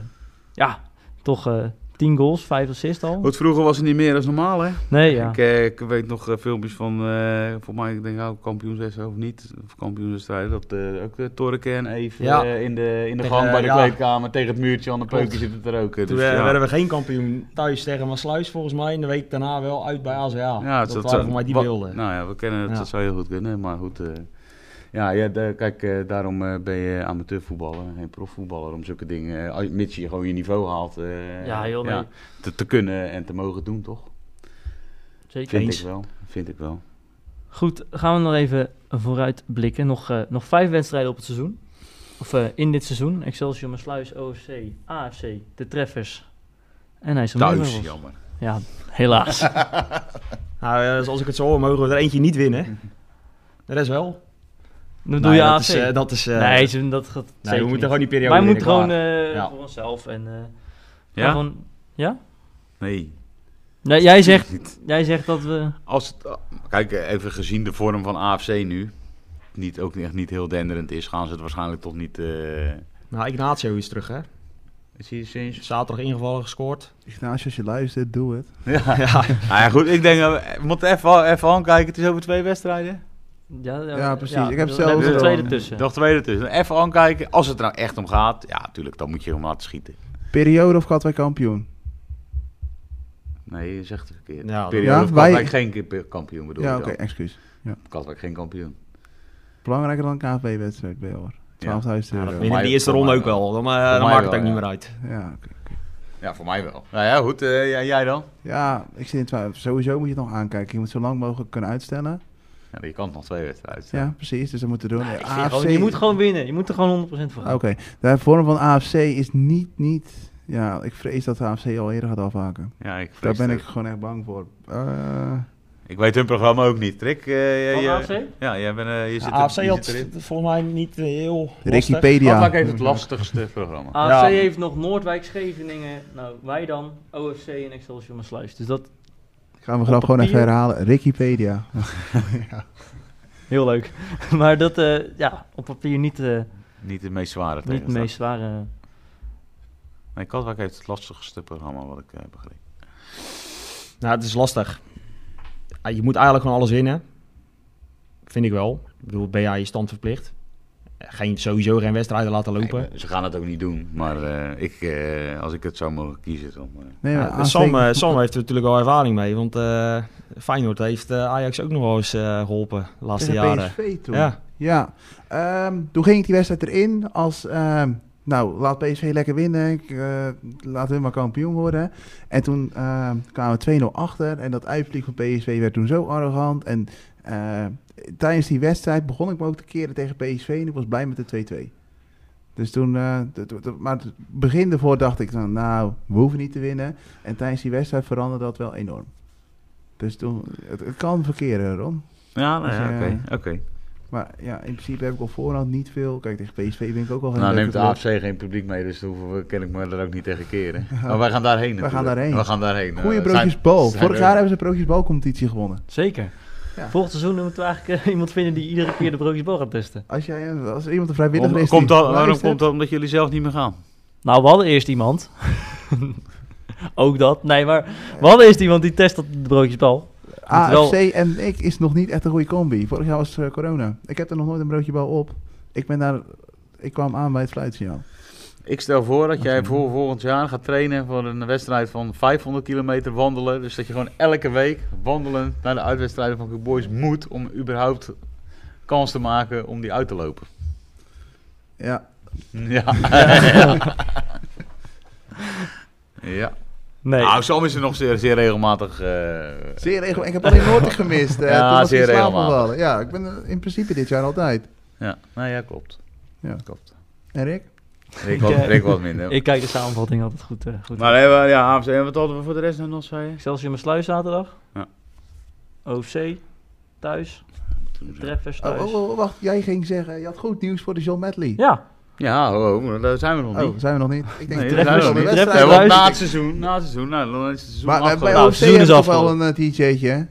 A: ja, toch, eh, 10 goals, 5 assists al.
C: Want vroeger was het niet meer als normaal, hè?
A: Nee, ja.
C: Ik, eh, ik weet nog eh, filmpjes van, eh voor mij, ik denk ook kampioenswedstrijden of niet, of kampioenswedstrijden, dat eh, ook uh, Torken even
B: Ja.
C: eh, in de, in de
B: Tegen,
C: gang bij de
B: ja.
C: kleedkamer tegen het muurtje aan de
B: Klopt.
C: peukje zitten te roken.
B: Toen
C: Dus,
B: eh,
C: ja.
B: werden we geen kampioen thuis tegen Maasluis volgens mij. En de week daarna wel uit bij AZA.
C: Ja,
B: Oh, dat,
C: het- het-
B: waren voor mij die
C: wat-
B: beelden.
C: Nou ja, we kennen het,
B: Ja.
C: dat zou heel goed kunnen, maar goed. eh, ja, ja de- kijk, eh, daarom eh, ben je amateurvoetballer, geen profvoetballer, om zulke dingen, eh, als- mits je gewoon je niveau haalt, eh,
A: Ja, heel nee.
C: te, te kunnen en te mogen doen, toch?
A: Zeker.
C: Vind
B: Eens.
C: ik wel, vind ik wel.
A: Goed, gaan we nog even vooruit blikken. Nog, eh, nog vijf wedstrijden op het seizoen. Of eh, in dit seizoen. Excelsior, Maasluis, OFC, AFC, de treffers. En hij is er mee
C: Thuis,
A: verrast.
C: jammer.
A: Ja, helaas.
B: Nou, eh, zoals ik het zo hoor, mogen we er eentje niet winnen. De rest wel.
A: Dan doe
B: Nee,
A: je
B: dat
A: AFC.
B: Is, eh, dat is, eh,
A: nee, ze- dat gaat
B: nee,
A: zeker
B: we moeten
A: niet.
B: gewoon die periode
A: Wij moeten
B: winnen,
A: gewoon
B: klaar.
A: eh,
B: Ja.
A: voor onszelf. En, eh,
C: Ja?
A: gewoon, ja?
C: Nee.
A: Nee, jij, zegt, jij zegt dat we...
C: Als het, eh, kijk, even gezien de vorm van AFC nu, niet, ook echt niet heel denderend is, gaan ze het waarschijnlijk toch niet... eh
B: Nou, Ignacio is terug, hè.
C: Zie je sinds?
B: Zaterdag ingevallen, gescoord.
D: Ignacio, als je luistert, doe het.
C: Ja. Nou ja, goed, ik denk, dat we we moeten even, even aankijken, het is over twee wedstrijden.
A: Ja,
D: Ja, precies. Ik heb
A: we
D: zelfs-
A: hebben er twee
C: Ja.
A: ertussen.
C: Dag tweede tussen. Even aankijken, als het er nou echt om gaat, ja, natuurlijk, dan moet je hem laten schieten.
D: Periode of Katwijk kampioen?
C: Nee, je zegt het verkeerd.
B: Ja,
C: Periode
D: Ja,
C: of
D: wij-
C: Katwijk geen keer kampioen bedoel
D: ja,
C: ik
D: oké,
C: dan.
D: excuus.
C: Katwijk geen kampioen.
D: Belangrijker dan een KV-wedstrijd bij hoor. 12.000
C: Ja, dat
D: euro.
C: vind
B: Winnen die eerste
C: voor
B: ronde
C: mij
B: ook
C: wel.
B: wel. Dan, eh,
C: mij
B: dan maakt het
C: wel,
B: ook niet
C: ja.
B: meer uit.
D: Ja, oké.
C: Ja, voor mij wel. Nou ja, goed, eh, ja, jij dan?
D: ja, ik zit in twijfel. Sowieso moet je het nog aankijken. Je moet zo lang mogelijk kunnen uitstellen.
C: Ja, je kan nog twee wedstrijden.
D: Ja, precies. Dus dat moeten we doen.
A: Ik vind
D: AFC
A: gewoon, je moet gewoon winnen. Je moet er gewoon 100% voor gaan.
D: Oké, de vorm van AFC is niet, niet... Ja, ik vrees dat de AFC al eerder gaat afhaken.
C: Ja, ik
D: Daar
C: vrees
D: ben
C: het
D: ik
C: ook.
D: gewoon echt bang voor. Eh,
C: Ik weet hun programma ook niet. Rick, eh, jij-
A: Van
C: jij-
A: AFC?
C: Ja, jij bent, eh, je zit er-
B: AFC
C: je
B: had
C: zit erin.
B: volgens mij niet eh, heel lastig.
D: Wikipedia.
C: Katwijk heeft het lastigste programma.
A: AFC
B: Ja.
A: heeft nog Noordwijk, Scheveningen, nou wij dan, OFC en Excelsior Maasluis. Dus dat
D: Ik ga mijn grap gewoon even
A: papier.
D: herhalen. Wikipedia.
A: heel leuk. maar dat eh, ja, op papier niet, eh,
C: Niet de meest zware
A: niet het
C: tegenstander.
A: meest zware.
C: Nee, Katwijk heeft het lastigste programma, wat ik eh, begreep.
B: Nou, het is lastig. Ja, je moet eigenlijk gewoon alles winnen. Vind ik wel. Ik bedoel, ben je stand verplicht. Geen, sowieso geen wedstrijden laten lopen.
C: Nee, ze gaan het ook niet doen, maar eh, ik, eh, als ik het zou mogen kiezen, dan... eh,
D: Nee,
B: Ja,
D: maar AFC
B: Sam, eh, Sam heeft er natuurlijk al ervaring mee. Want eh, Feyenoord heeft eh, Ajax ook nog wel eens eh, geholpen de laatste
D: tegen
B: jaren.
D: PSV toen.
B: Ja,
D: Ja, ehm, toen ging ik die wedstrijd erin als, ehm, nou, laat PSV lekker winnen, ik, eh, laten we maar kampioen worden. En toen ehm, kwamen we 2-0 achter en dat uitvlieg van PSV werd toen zo arrogant. En eh, tijdens die wedstrijd begon ik me ook te keren tegen PSV en ik was blij met de 2-2. Dus toen, eh, d- d- d- maar het begin ervoor dacht ik dan, nou, we hoeven niet te winnen. En tijdens die wedstrijd veranderde dat wel enorm. Dus toen, het, het kan verkeren, Ron.
C: Ja, nou ja,
D: Dus,
C: oké.
D: eh,
C: oké.
D: Maar ja, in principe heb ik op voorhand niet veel. Kijk, tegen PSV ben ik ook al geen
C: Nou
D: leuke
C: neemt de
D: club.
C: AFC geen publiek mee, dus daar hoeven we- ken ik me er ook niet tegen keren. Maar wij gaan daarheen
D: Wij
C: natuurlijk.
D: gaan daarheen.
C: We gaan daarheen. Eh,
D: Goeie
C: het
D: broodjes
C: zijn-
D: bal.
C: het zijn
D: Vorig
C: er-
D: jaar hebben ze de broodjes balcompetitie gewonnen.
A: Zeker.
D: Ja.
A: Volgend seizoen moeten we eigenlijk eh, iemand vinden die iedere keer de broodjesbal gaat testen.
D: Als, jij, als er iemand een vrijwilliger
C: Om-
D: is
C: komt
D: die
C: dat, waarom
D: luistert,
C: komt dat? Omdat jullie zelf niet meer gaan.
A: Nou, we hadden eerst iemand. Ook dat. Nee, maar we hadden eerst iemand die test op de broodjesbal.
D: AFC
A: wel-
D: en ik is nog niet echt een goede combi. Vorig jaar was het eh, corona. Ik heb er nog nooit een broodje bal op. Ik ben daar... Ik kwam aan bij het fluitsignaal.
C: Ik stel voor dat jij voor volgend jaar gaat trainen voor een wedstrijd van 500 kilometer wandelen. Dus dat je gewoon elke week wandelen naar de uitwedstrijden van Boys moet om überhaupt kans te maken om die uit te lopen.
D: Ja,
C: Ja. ja.
A: Nee.
C: Nou, Sam is er nog zeer, zeer regelmatig. eh,
D: zeer regelmatig. Ik heb alleen Noordig gemist. eh,
C: Ja,
D: toen was
C: zeer
D: ik in slaap
C: regelmatig.
D: gevallen. Ja, ik ben eh, in principe dit jaar altijd.
C: ja, nou ja, klopt.
D: Ja.
C: klopt.
D: En Rick?
C: Rick wat,
A: Ik, eh,
C: Rick wat minder.
A: Ik kijk de samenvatting altijd goed. eh goed.
C: Maar hebben we, ja, AFC, en wat hadden we voor de rest nou nog, zei je?
A: Excelsior Maasluis zaterdag.
C: Ja.
A: OFC thuis. De treffers
D: Oh,
A: thuis.
D: oh, oh, wacht. Jij ging zeggen... Je had goed nieuws voor de John Medley.
A: Ja,
C: Ja, ho, ho, daar zijn we nog niet.
D: Oh, zijn we nog niet? Ik denk
C: Nee, daar
D: dat
C: zijn we nog
D: de
C: niet.
A: Treffers
D: wedstrijd
C: Nee, want
A: thuis.
C: na het seizoen, na het seizoen, nou, dan is het seizoen
D: Maar eh,
C: afgelopen.
D: bij OFC
A: seizoen is
D: hebben we toch wel
A: afgelopen.
D: een eh, DJ'tje, hè?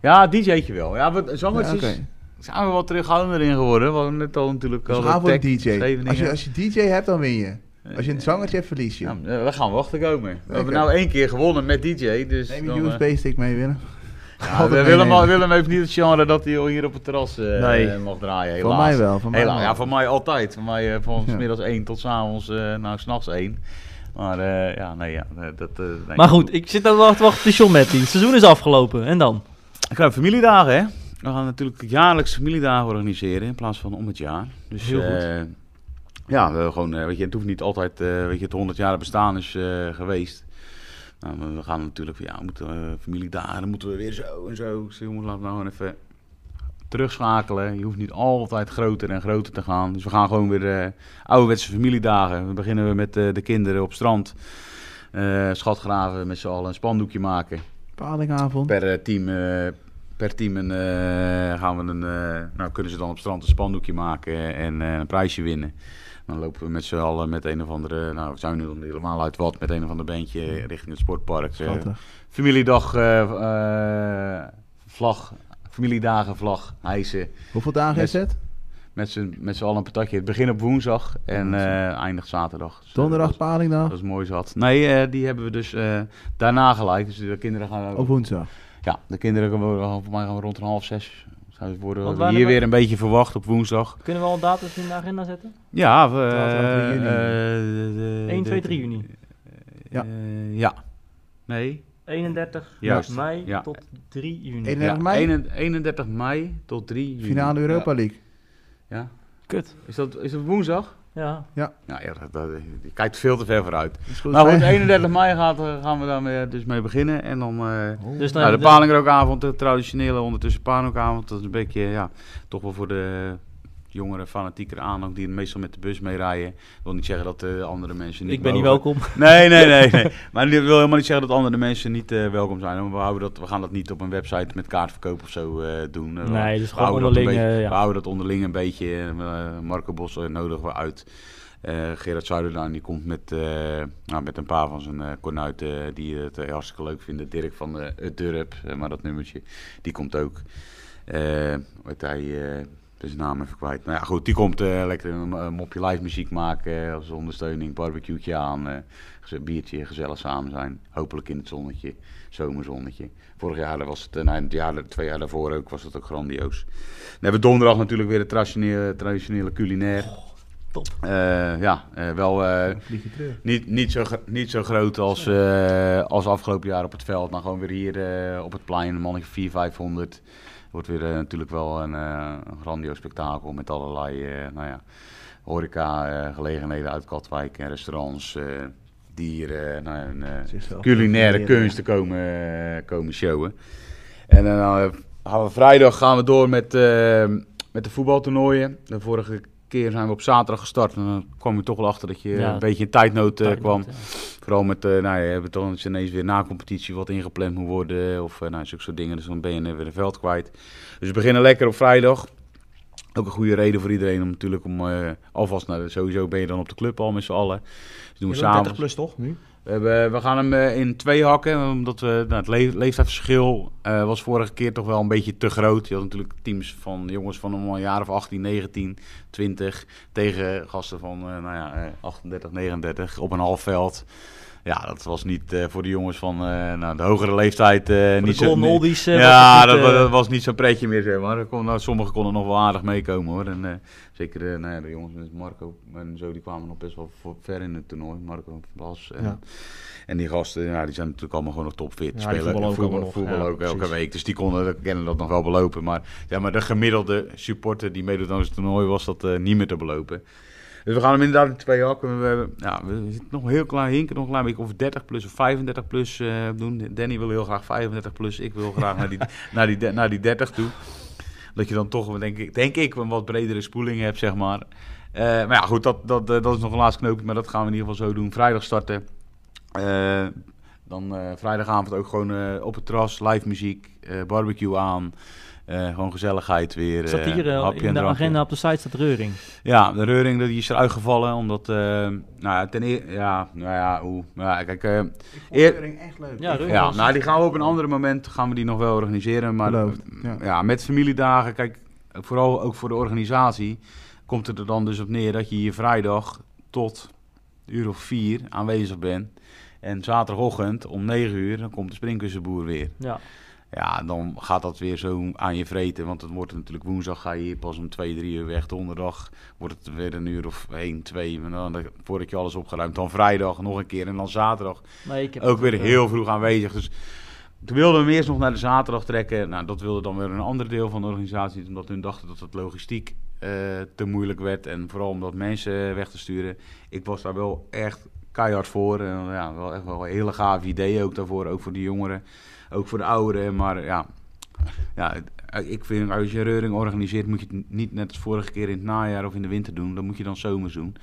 C: Ja, DJ'tje wel. Ja, we, zangers
D: Ja,
C: is-
D: oké.
C: zijn we wat terughoudender in geworden. We hadden net al natuurlijk
D: Dus
C: al
D: ga
C: de
D: voor een
C: tech-
D: DJ. Als je,
C: Scheveningen.
D: als je DJ hebt, dan win je. Als je een zangertje hebt, verlies je.
C: Ja, eh, we gaan wachten komen. We hebben
D: Oké.
C: nou één keer gewonnen met DJ, dus...
D: Neem
C: dan,
D: je
C: eh,
D: USB-stick mee, Willem.
C: ja,
D: Altijd
C: Willem,
D: meenemen.
C: Willem heeft niet het genre dat hij hier op het terras eh,
B: Nee.
C: mag draaien, helaas.
D: Voor mij wel. Voor mij
C: Helaas,
D: wel.
C: ja, voor mij altijd. Voor mij eh, van
D: Ja.
C: 's middags 1 tot 's avonds, eh nou, s'nachts 1. Maar eh, ja, nee, ja, eh, dat... eh, nee.
A: Maar goed, ik zit al te wachten op John Matty. Het seizoen is afgelopen. En dan?
C: Ik ga familiedagen, hè. We gaan natuurlijk jaarlijks familiedagen organiseren in plaats van om het jaar. Dus,
A: Heel goed.
C: eh, ja, we gewoon, eh, weet je, het hoeft niet altijd, eh, weet je, het 100 jaar bestaan is eh, geweest. Nou, we- we gaan natuurlijk van, ja, we moeten eh, familiedagen, dan moeten we weer zo en zo. Ik zeg, jongens, laten we nou gewoon even terugschakelen. Je hoeft niet altijd groter en groter te gaan. Dus we gaan gewoon weer eh, ouderwetse familiedagen. We beginnen we met eh, de kinderen op strand. eh schatgraven met z'n allen, een spandoekje maken
D: Palingavond.
C: per eh, team, eh, per team een, eh, gaan we een, eh, nou kunnen ze dan op het strand een spandoekje maken en eh, een prijsje winnen. Dan lopen we met z'n allen met een of andere, nou we zijn nu nog niet helemaal uit wat, met een of ander bandje richting het sportpark. Eh,
D: Schattig.
C: familiedag, eh, eh, vlag, familiedagen vlag, hijsen.
D: Hoeveel dagen is
C: Yes.
D: het?
C: Met z'n met z'n allen een patatje. Het begin op woensdag en eh eindigt zaterdag. Dus, eh,
D: Donderdag
C: dat is-
D: Palingdag
C: Dat is mooi zat. Nee, eh, die hebben we dus eh, daarna gelijk. Dus de kinderen gaan
D: of woensdag?
C: ja, de kinderen komen wel- volgens mij gaan we rond een half zes. Zou het worden
A: Want
C: we
A: wanneer-
C: hier weer een beetje verwacht op woensdag.
A: Kunnen we al een datum in de agenda zetten?
C: Ja, we,
D: Zaterdag 3 juni.
C: eh, de- de-
A: 1, 2,
C: de-
A: 3 juni.
D: Ja.
C: Eh, ja. Nee.
A: 31
C: Juist,
A: mei
C: ja.
A: tot 3 juni.
D: 31
C: Ja,
D: mei?
C: 1 31 mei tot 3 juni.
D: Finale Europa League.
C: Ja. Ja.
A: Kut.
C: Is, dat, is dat woensdag?
A: Ja.
C: Nou ja, dat, dat- je kijkt veel te ver vooruit.
D: Is goed,
C: nou goed,
D: hè?
C: 31 mei gaat, eh, gaan we daar mee- dus mee beginnen. En dan... eh,
A: Dus dan
C: Nou, de
A: dan-
C: Palingrookavond, de traditionele ondertussen Palingrookavond, dat is een beetje, ja, toch wel voor de jongere, fanatiekere aanhang die meestal met de bus meerijden. Dat wil niet zeggen dat de andere mensen niet
A: ik ben niet
C: mogen.
A: welkom.
C: Nee, nee, nee, nee. Maar dat wil helemaal niet zeggen dat andere mensen niet eh, welkom zijn. We, houden dat, we gaan dat niet op een website met kaartverkoop of zo eh, doen. Eh, we-
A: Nee, dus
C: we
A: gewoon
C: houden dat een
A: onderling,
C: beetje-
A: eh, ja.
C: We houden dat onderling een beetje. eh, Marco Bos eh, nodigen we uit. Eh, Gerard Zuiderlaan die komt met, eh, nou, met een paar van zijn eh kornuiten die het eh, hartstikke leuk vinden. Dirk van eh, het Durp, eh, maar dat nummertje, die komt ook. Eh wat hij, eh, ik ben zijn naam even kwijt. Nou ja, goed, die komt eh, lekker een een mopje live muziek maken eh, als ondersteuning. Barbecue'tje aan, eh, geze- biertje, gezellig samen zijn. Hopelijk in het zonnetje, zomerzonnetje. Vorig jaar was het, eh, nee, het jaar, twee jaar daarvoor ook, was het ook grandioos. Dan hebben we donderdag natuurlijk weer het traditionele, traditionele culinair.
A: top.
C: Eh, ja, eh, wel eh,
D: Dan Vlieg je terug.
C: niet, niet, zo, gro- niet zo groot als, eh, als afgelopen jaar op het veld. Maar gewoon weer hier eh, op het plein, een mannetje 4 500. Wordt weer eh, natuurlijk wel een, eh, een grandioos spektakel met allerlei eh nou ja, horeca-gelegenheden uit Katwijk en restaurants, eh, dieren, nou ja, een, eh,
D: Zichzelf
C: culinaire
D: presenteren.
C: kunsten komen, eh, komen showen. En dan eh, gaan we vrijdag gaan we door met, eh, met de voetbaltoernooien. De vorige keer zijn we op zaterdag gestart en dan kwam je toch wel achter dat je
A: Ja.
C: een beetje in tijdnood eh, kwam.
A: Ja.
C: Vooral met, eh, nou ja, je hebt dan ineens weer na competitie wat ingepland moet worden. Of eh, nou, zulke soort dingen. Dus dan ben je eh, weer een veld kwijt. Dus we beginnen lekker op vrijdag. Ook een goede reden voor iedereen om natuurlijk om eh, alvast naar de, sowieso ben je dan op de club al met z'n allen. Dus doen we samen.
B: 30 plus toch, nu?
C: We, hebben- we gaan hem eh, in twee hakken, omdat we, nou, het le- leeftijdsverschil eh, was vorige keer toch wel een beetje te groot. Je had natuurlijk teams van jongens van allemaal een jaar of 18, 19, 20 tegen gasten van eh, nou ja, eh, 38, 39 op een half veld. Ja, dat was niet eh, voor de jongens van eh, nou, de hogere leeftijd. eh,
A: Voor
C: niet
A: de
C: zo,
A: Golden
C: nee.
A: Oldies. eh,
C: Ja,
A: was het
C: dat,
A: niet,
C: wa-
A: eh,
C: dat was niet zo'n pretje meer, zeg maar. Er Kon, nou, sommigen konden nog wel aardig meekomen, hoor. En, eh, zeker eh, nou ja, de jongens met Marco en zo, die kwamen nog best wel vo- ver in het toernooi. Marco eh, Blas. En,
B: Ja.
C: en die gasten, ja, die zijn natuurlijk allemaal gewoon nog topfit.
B: Ja, die
C: spelen
B: voetballen ook
C: voetbal,
B: allemaal nog,
C: voetbal
B: ja,
C: ook elke
B: precies.
C: week. Dus die konden, kennen dat nog wel belopen. Maar, ja, maar de gemiddelde supporter die meedoet aan het toernooi was dat eh, niet meer te belopen. Dus we gaan hem inderdaad in twee hakken. We, hebben- ja, we zitten nog een heel klein hinken, nog een klein beetje of 30 plus of 35 plus eh, doen. Danny wil heel graag 35 plus. Ik wil graag naar die, naar die, de- naar die 30 toe. Dat je dan toch, denk ik, denk ik, een wat bredere spoeling hebt, zeg maar. Eh, maar ja, goed, dat, dat, eh, dat is nog een laatste knoopje, maar dat gaan we in ieder geval zo doen. Vrijdag starten. Eh, dan eh, vrijdagavond ook gewoon eh, op het terras, live muziek, eh, barbecue aan. Eh, gewoon gezelligheid weer.
A: Staat
C: eh,
A: hier eh,
C: hapje en
A: in de
C: drankje.
A: agenda op de site staat Reuring.
C: Ja, de Reuring dat die is eruit gevallen, omdat... eh, nou ja, ten eer- ja, nou ja, hoe... Nou ja, kijk, eh,
D: Ik vond
C: eer-
D: Keuring echt leuk.
A: Ja, Reuring.
C: ja,
A: was-
C: nou, die gaan we op een ander moment gaan we die nog wel organiseren. Maar
D: Beloofd,
C: ja.
D: ja.
C: met familiedagen, kijk, vooral ook voor de organisatie, komt het er dan dus op neer dat je je vrijdag tot uur of vier aanwezig ben. En zaterdagochtend om negen uur, dan komt de springkussenboer weer.
A: Ja,
C: Ja, dan gaat dat weer zo aan je vreten. Want het wordt natuurlijk woensdag ga je hier pas om twee, drie uur weg. Donderdag wordt het weer een uur of één, twee. maar dan- Voordat je alles opgeruimd. Dan vrijdag nog een keer. En dan zaterdag
A: nee, ik heb
C: ook weer
A: eh,
C: heel vroeg aanwezig. Dus toen wilden we hem eerst nog naar de zaterdag trekken. Nou, dat wilde dan weer een ander deel van de organisatie. Omdat hun dachten dat het logistiek eh, te moeilijk werd. En vooral om dat mensen eh, weg te sturen. Ik was daar wel echt keihard voor. En ja, wel echt wel een hele gaaf idee ook daarvoor. Ook voor de jongeren. Ook voor de ouderen. Maar ja, ja het- eh, ik vind als je een reuring organiseert... moet je het niet net als vorige keer in het najaar of in de winter doen. Dan moet je dan zomers doen.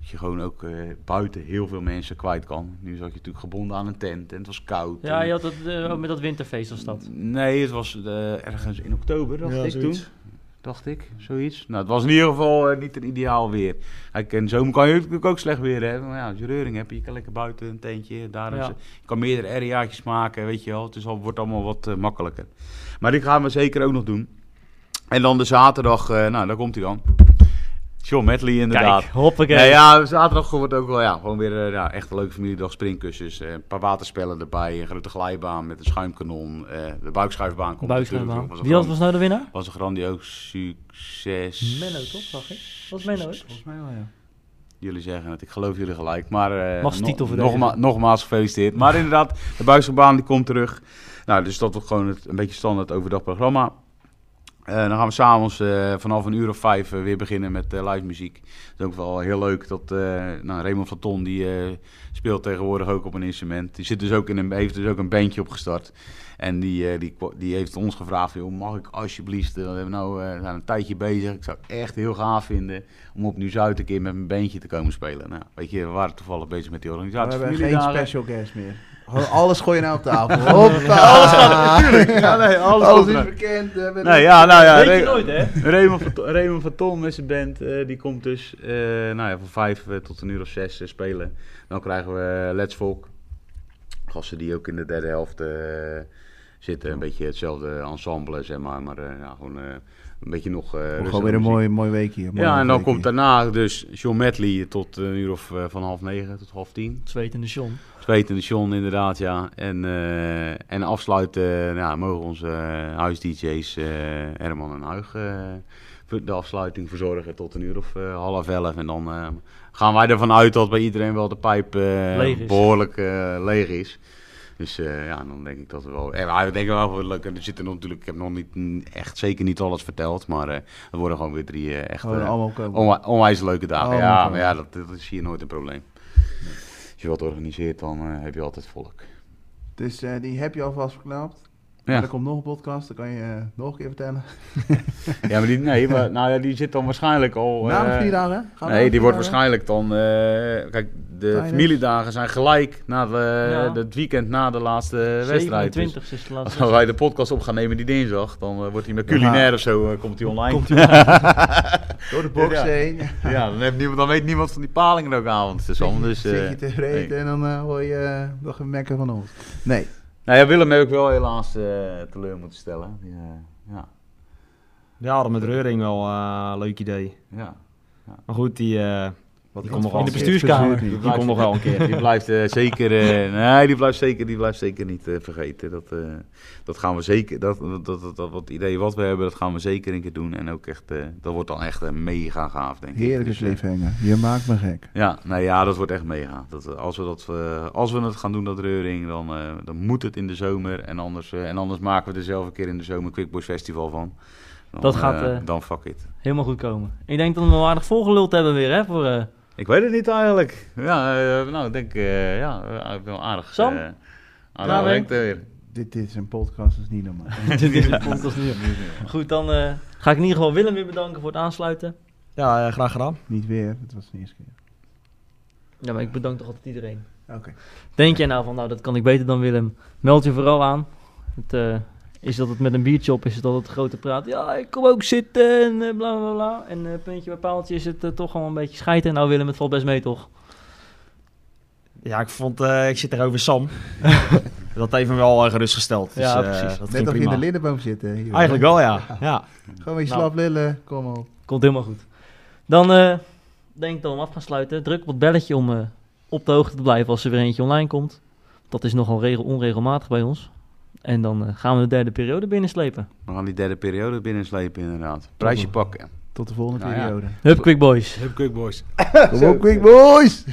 C: Dat je gewoon ook eh, buiten heel veel mensen kwijt kan. Nu zat je natuurlijk gebonden aan een tent en het was koud.
A: Ja,
C: en-
A: je had dat, eh, ook met dat winterfeest was dat.
C: Nee, het was eh, ergens in oktober, dacht
B: Ja,
C: ik
B: zoiets.
C: toen. Dacht ik, zoiets. Nou, het was in ieder geval eh, niet een ideaal weer. Kijk, in de zomer kan je natuurlijk ook slecht weer hebben. Maar ja, als je reuring hebt, je kan lekker buiten een tentje. Daar
A: Ja.
C: is, je kan meerdere areaatjes maken, weet je wel. Het is al, wordt allemaal wat eh, makkelijker. Maar die gaan we zeker ook nog doen. En dan de zaterdag, eh, nou, daar komt hij dan. John Medley inderdaad.
A: Kijk, hoppakee.
C: Nee, ja, zaterdag wordt ook wel ja, gewoon weer eh, ja, echt een leuke familiedag. Springkussens, eh, een paar waterspellen erbij, een grote glijbaan met een schuimkanon. eh, de buikschuifbaan komt
A: Buikschuifbaan.
C: natuurlijk. nog. Was een
A: Wie was,
C: gran-
A: was nou de winnaar?
C: was een grandioos succes.
A: Menno, toch, zag ik? Was Menno, hè?
D: Volgens mij wel, ja.
C: Jullie zeggen het, ik geloof jullie gelijk. Maar eh
A: Mag ze
C: no-
A: titel verdedigen.
C: nogma nogmaals gefeliciteerd. Maar inderdaad, de buikschuifbaan die komt terug. Nou, dus dat wordt gewoon het, een beetje standaard overdag programma. Eh, dan gaan we s'avonds eh vanaf een uur of vijf eh, weer beginnen met eh, live muziek. Dat is ook wel heel leuk. Dat, eh, nou, Raymond van Ton die, eh, speelt tegenwoordig ook op een instrument. Die zit dus ook in een, heeft dus ook een bandje opgestart. En die, eh, die, kwa- die heeft ons gevraagd: joh, mag ik alsjeblieft, eh, we hebben nou, eh, we zijn een tijdje bezig. Ik zou het echt heel gaaf vinden om op Nu-Zuid een keer met mijn bandje te komen spelen. Nou, weet je, we waren toevallig bezig met die
D: we
C: organisatie.
D: hebben geen
C: Familiedagen.
D: special guest meer. Ho- Alles gooi je nou op tafel. Hoppa. Alles gaat natuurlijk.
C: Ja, nee, alles
D: Alles
C: komt
D: is
C: er.
D: bekend. eh, met-
C: Nee, ja, nou ja.
A: Weet je
C: Ra-
A: nooit, hè?
C: Raymond van, Raymond van Ton met zijn band, eh, die komt dus eh, nou ja, van vijf eh, tot een uur of zes eh, spelen. Dan krijgen we eh, Let's Volk. Gasten die ook in de derde helft eh, zitten. Een beetje hetzelfde ensemble, zeg maar. Maar eh, ja, gewoon eh, een beetje nog... eh,
D: Gewoon
C: rustige
D: weer een
C: muziek.
D: mooi, mooi week hier. mooi
C: Ja, en dan
D: week
C: komt
D: hier.
C: daarna dus John Medley tot een uur of eh, van half negen tot half tien.
A: Zwetende John.
C: Zwetende John, inderdaad, ja. En, eh, en afsluiten eh, ja, mogen onze eh, huis-DJ's eh, Herman en Huig eh, voor de afsluiting verzorgen tot een uur of eh, half elf. En dan eh, gaan wij ervan uit dat bij iedereen wel de pijp eh,
A: Leeg is.
C: behoorlijk eh, leeg is. Dus eh, ja, dan denk ik dat we wel. En we denken wel wel leuk. En er zitten nog natuurlijk. Ik heb nog niet mm, echt zeker niet alles verteld. Maar eh, er worden gewoon weer drie eh, echt.
A: Oh,
D: Gewoon
C: eh,
D: allemaal komen.
C: Onwa- onwijs leuke dagen.
D: Oh,
C: ja,
D: man.
C: maar ja, dat, dat is hier nooit een probleem. Als je wat organiseert, dan eh, heb je altijd volk.
D: Dus eh, die heb je alvast verklapt.
C: Ja.
D: Er komt nog een podcast, dan kan je eh, nog een keer vertellen.
C: Ja, maar die, nee, maar, nou ja, die zit dan waarschijnlijk al.
D: na de
C: eh,
D: vier dagen? Gaan we na
C: nee,
D: de
C: die
D: vier
C: wordt
D: dagen?
C: waarschijnlijk dan. eh, kijk, de
D: Tijdens-
C: familiedagen zijn gelijk na de, eh,
A: Ja.
C: het weekend na de laatste wedstrijd. Dus
A: 27 is de
C: als
A: laatste.
C: wij de podcast op gaan nemen die dinsdag, dan eh, wordt hij met culinair of zo eh, komt hij online.
D: Door de box
C: Ja.
D: heen.
C: ja, dan, heeft niemand, dan weet niemand van die palingen ook aan, want het is allemaal dus.
D: Zit
C: eh,
D: je te vreten en dan eh, hoor je eh, nog een mekker van ons. Nee.
C: Nou ja, Willem heb ik wel helaas eh, teleur moeten stellen. Die, eh, ja,
B: Ja, dat met Reuring wel eh, leuk idee.
C: ja.
B: Maar goed, die, eh, die komt nog wel
A: in
B: een
A: de
B: keer.
A: bestuurskamer.
D: Verzuurt niet.
B: Die komt nog wel een keer.
C: Die blijft eh, zeker, eh, nee, die blijft zeker, die blijft zeker niet eh, vergeten. Dat, eh, dat gaan we zeker, dat, dat, dat, dat, dat idee wat we hebben, dat gaan we zeker een keer doen. En ook echt, eh, dat wordt dan echt eh, mega gaaf, denk ik.
D: Heerlijke
C: Dus, eh,
D: cliffhanger. Je maakt me gek.
C: Ja, nou ja, dat wordt echt mega. Dat, eh, als, we dat, eh, als we het gaan doen, dat reuring, dan, eh, dan moet het in de zomer. En anders, eh, en anders maken we er zelf een keer in de zomer een Quickboys Festival van. Dan,
A: Dat gaat,
C: eh,
A: eh,
C: dan fuck it.
A: Helemaal goed komen. Ik denk dat we hem aardig volgeluld hebben weer, hè? Voor, eh,
C: Ik weet het niet eigenlijk. Ja, eh, nou, ik denk, eh, ja, eh, ik ben wel aardig.
A: Sam?
C: eh, aardig
A: Klaar mee?
C: werkt er weer.
D: Dit, dit is een podcast, dat is niet normaal.
A: dit is de podcast nu. Goed, dan eh, ga ik in ieder geval Willem weer bedanken voor het aansluiten.
B: Ja, eh, graag gedaan.
D: niet weer, het was de eerste keer.
A: Ja, maar ik bedank toch altijd iedereen.
D: Oké.
A: Denk jij nou van, nou, dat kan ik beter dan Willem? Meld je vooral aan. Het, eh, is dat het met een biertje op? Is het altijd grote praat? Ja, ik kom ook zitten en eh, bla bla bla. En eh, puntje bij paaltje is het eh, toch gewoon een beetje scheiden. Nou, Willem, het valt best mee, toch?
B: Ja, ik vond, eh, ik zit er over Sam. dat heeft me wel eh, gerustgesteld. Dus,
A: Ja,
B: eh,
A: precies.
B: Dat
D: Net
B: ging
D: als je in
B: prima.
D: de lindenboom zitten. Hier.
B: Eigenlijk wel, ja. ja.
D: Gewoon weer
A: Nou.
D: slap lullen, kom op.
A: Komt helemaal goed. Dan eh, denk ik dat we hem af gaan sluiten. Druk op het belletje om eh, op de hoogte te blijven als er weer eentje online komt. Dat is nogal regel onregelmatig bij ons. En dan eh, gaan we de derde periode binnenslepen.
C: We gaan die derde periode binnenslepen inderdaad. Prijsje pakken.
D: Tot de volgende
C: Nou ja.
D: periode.
A: Hup, Quick Boys.
E: Hup Quick Boys.
D: Kom op, Quick Boys!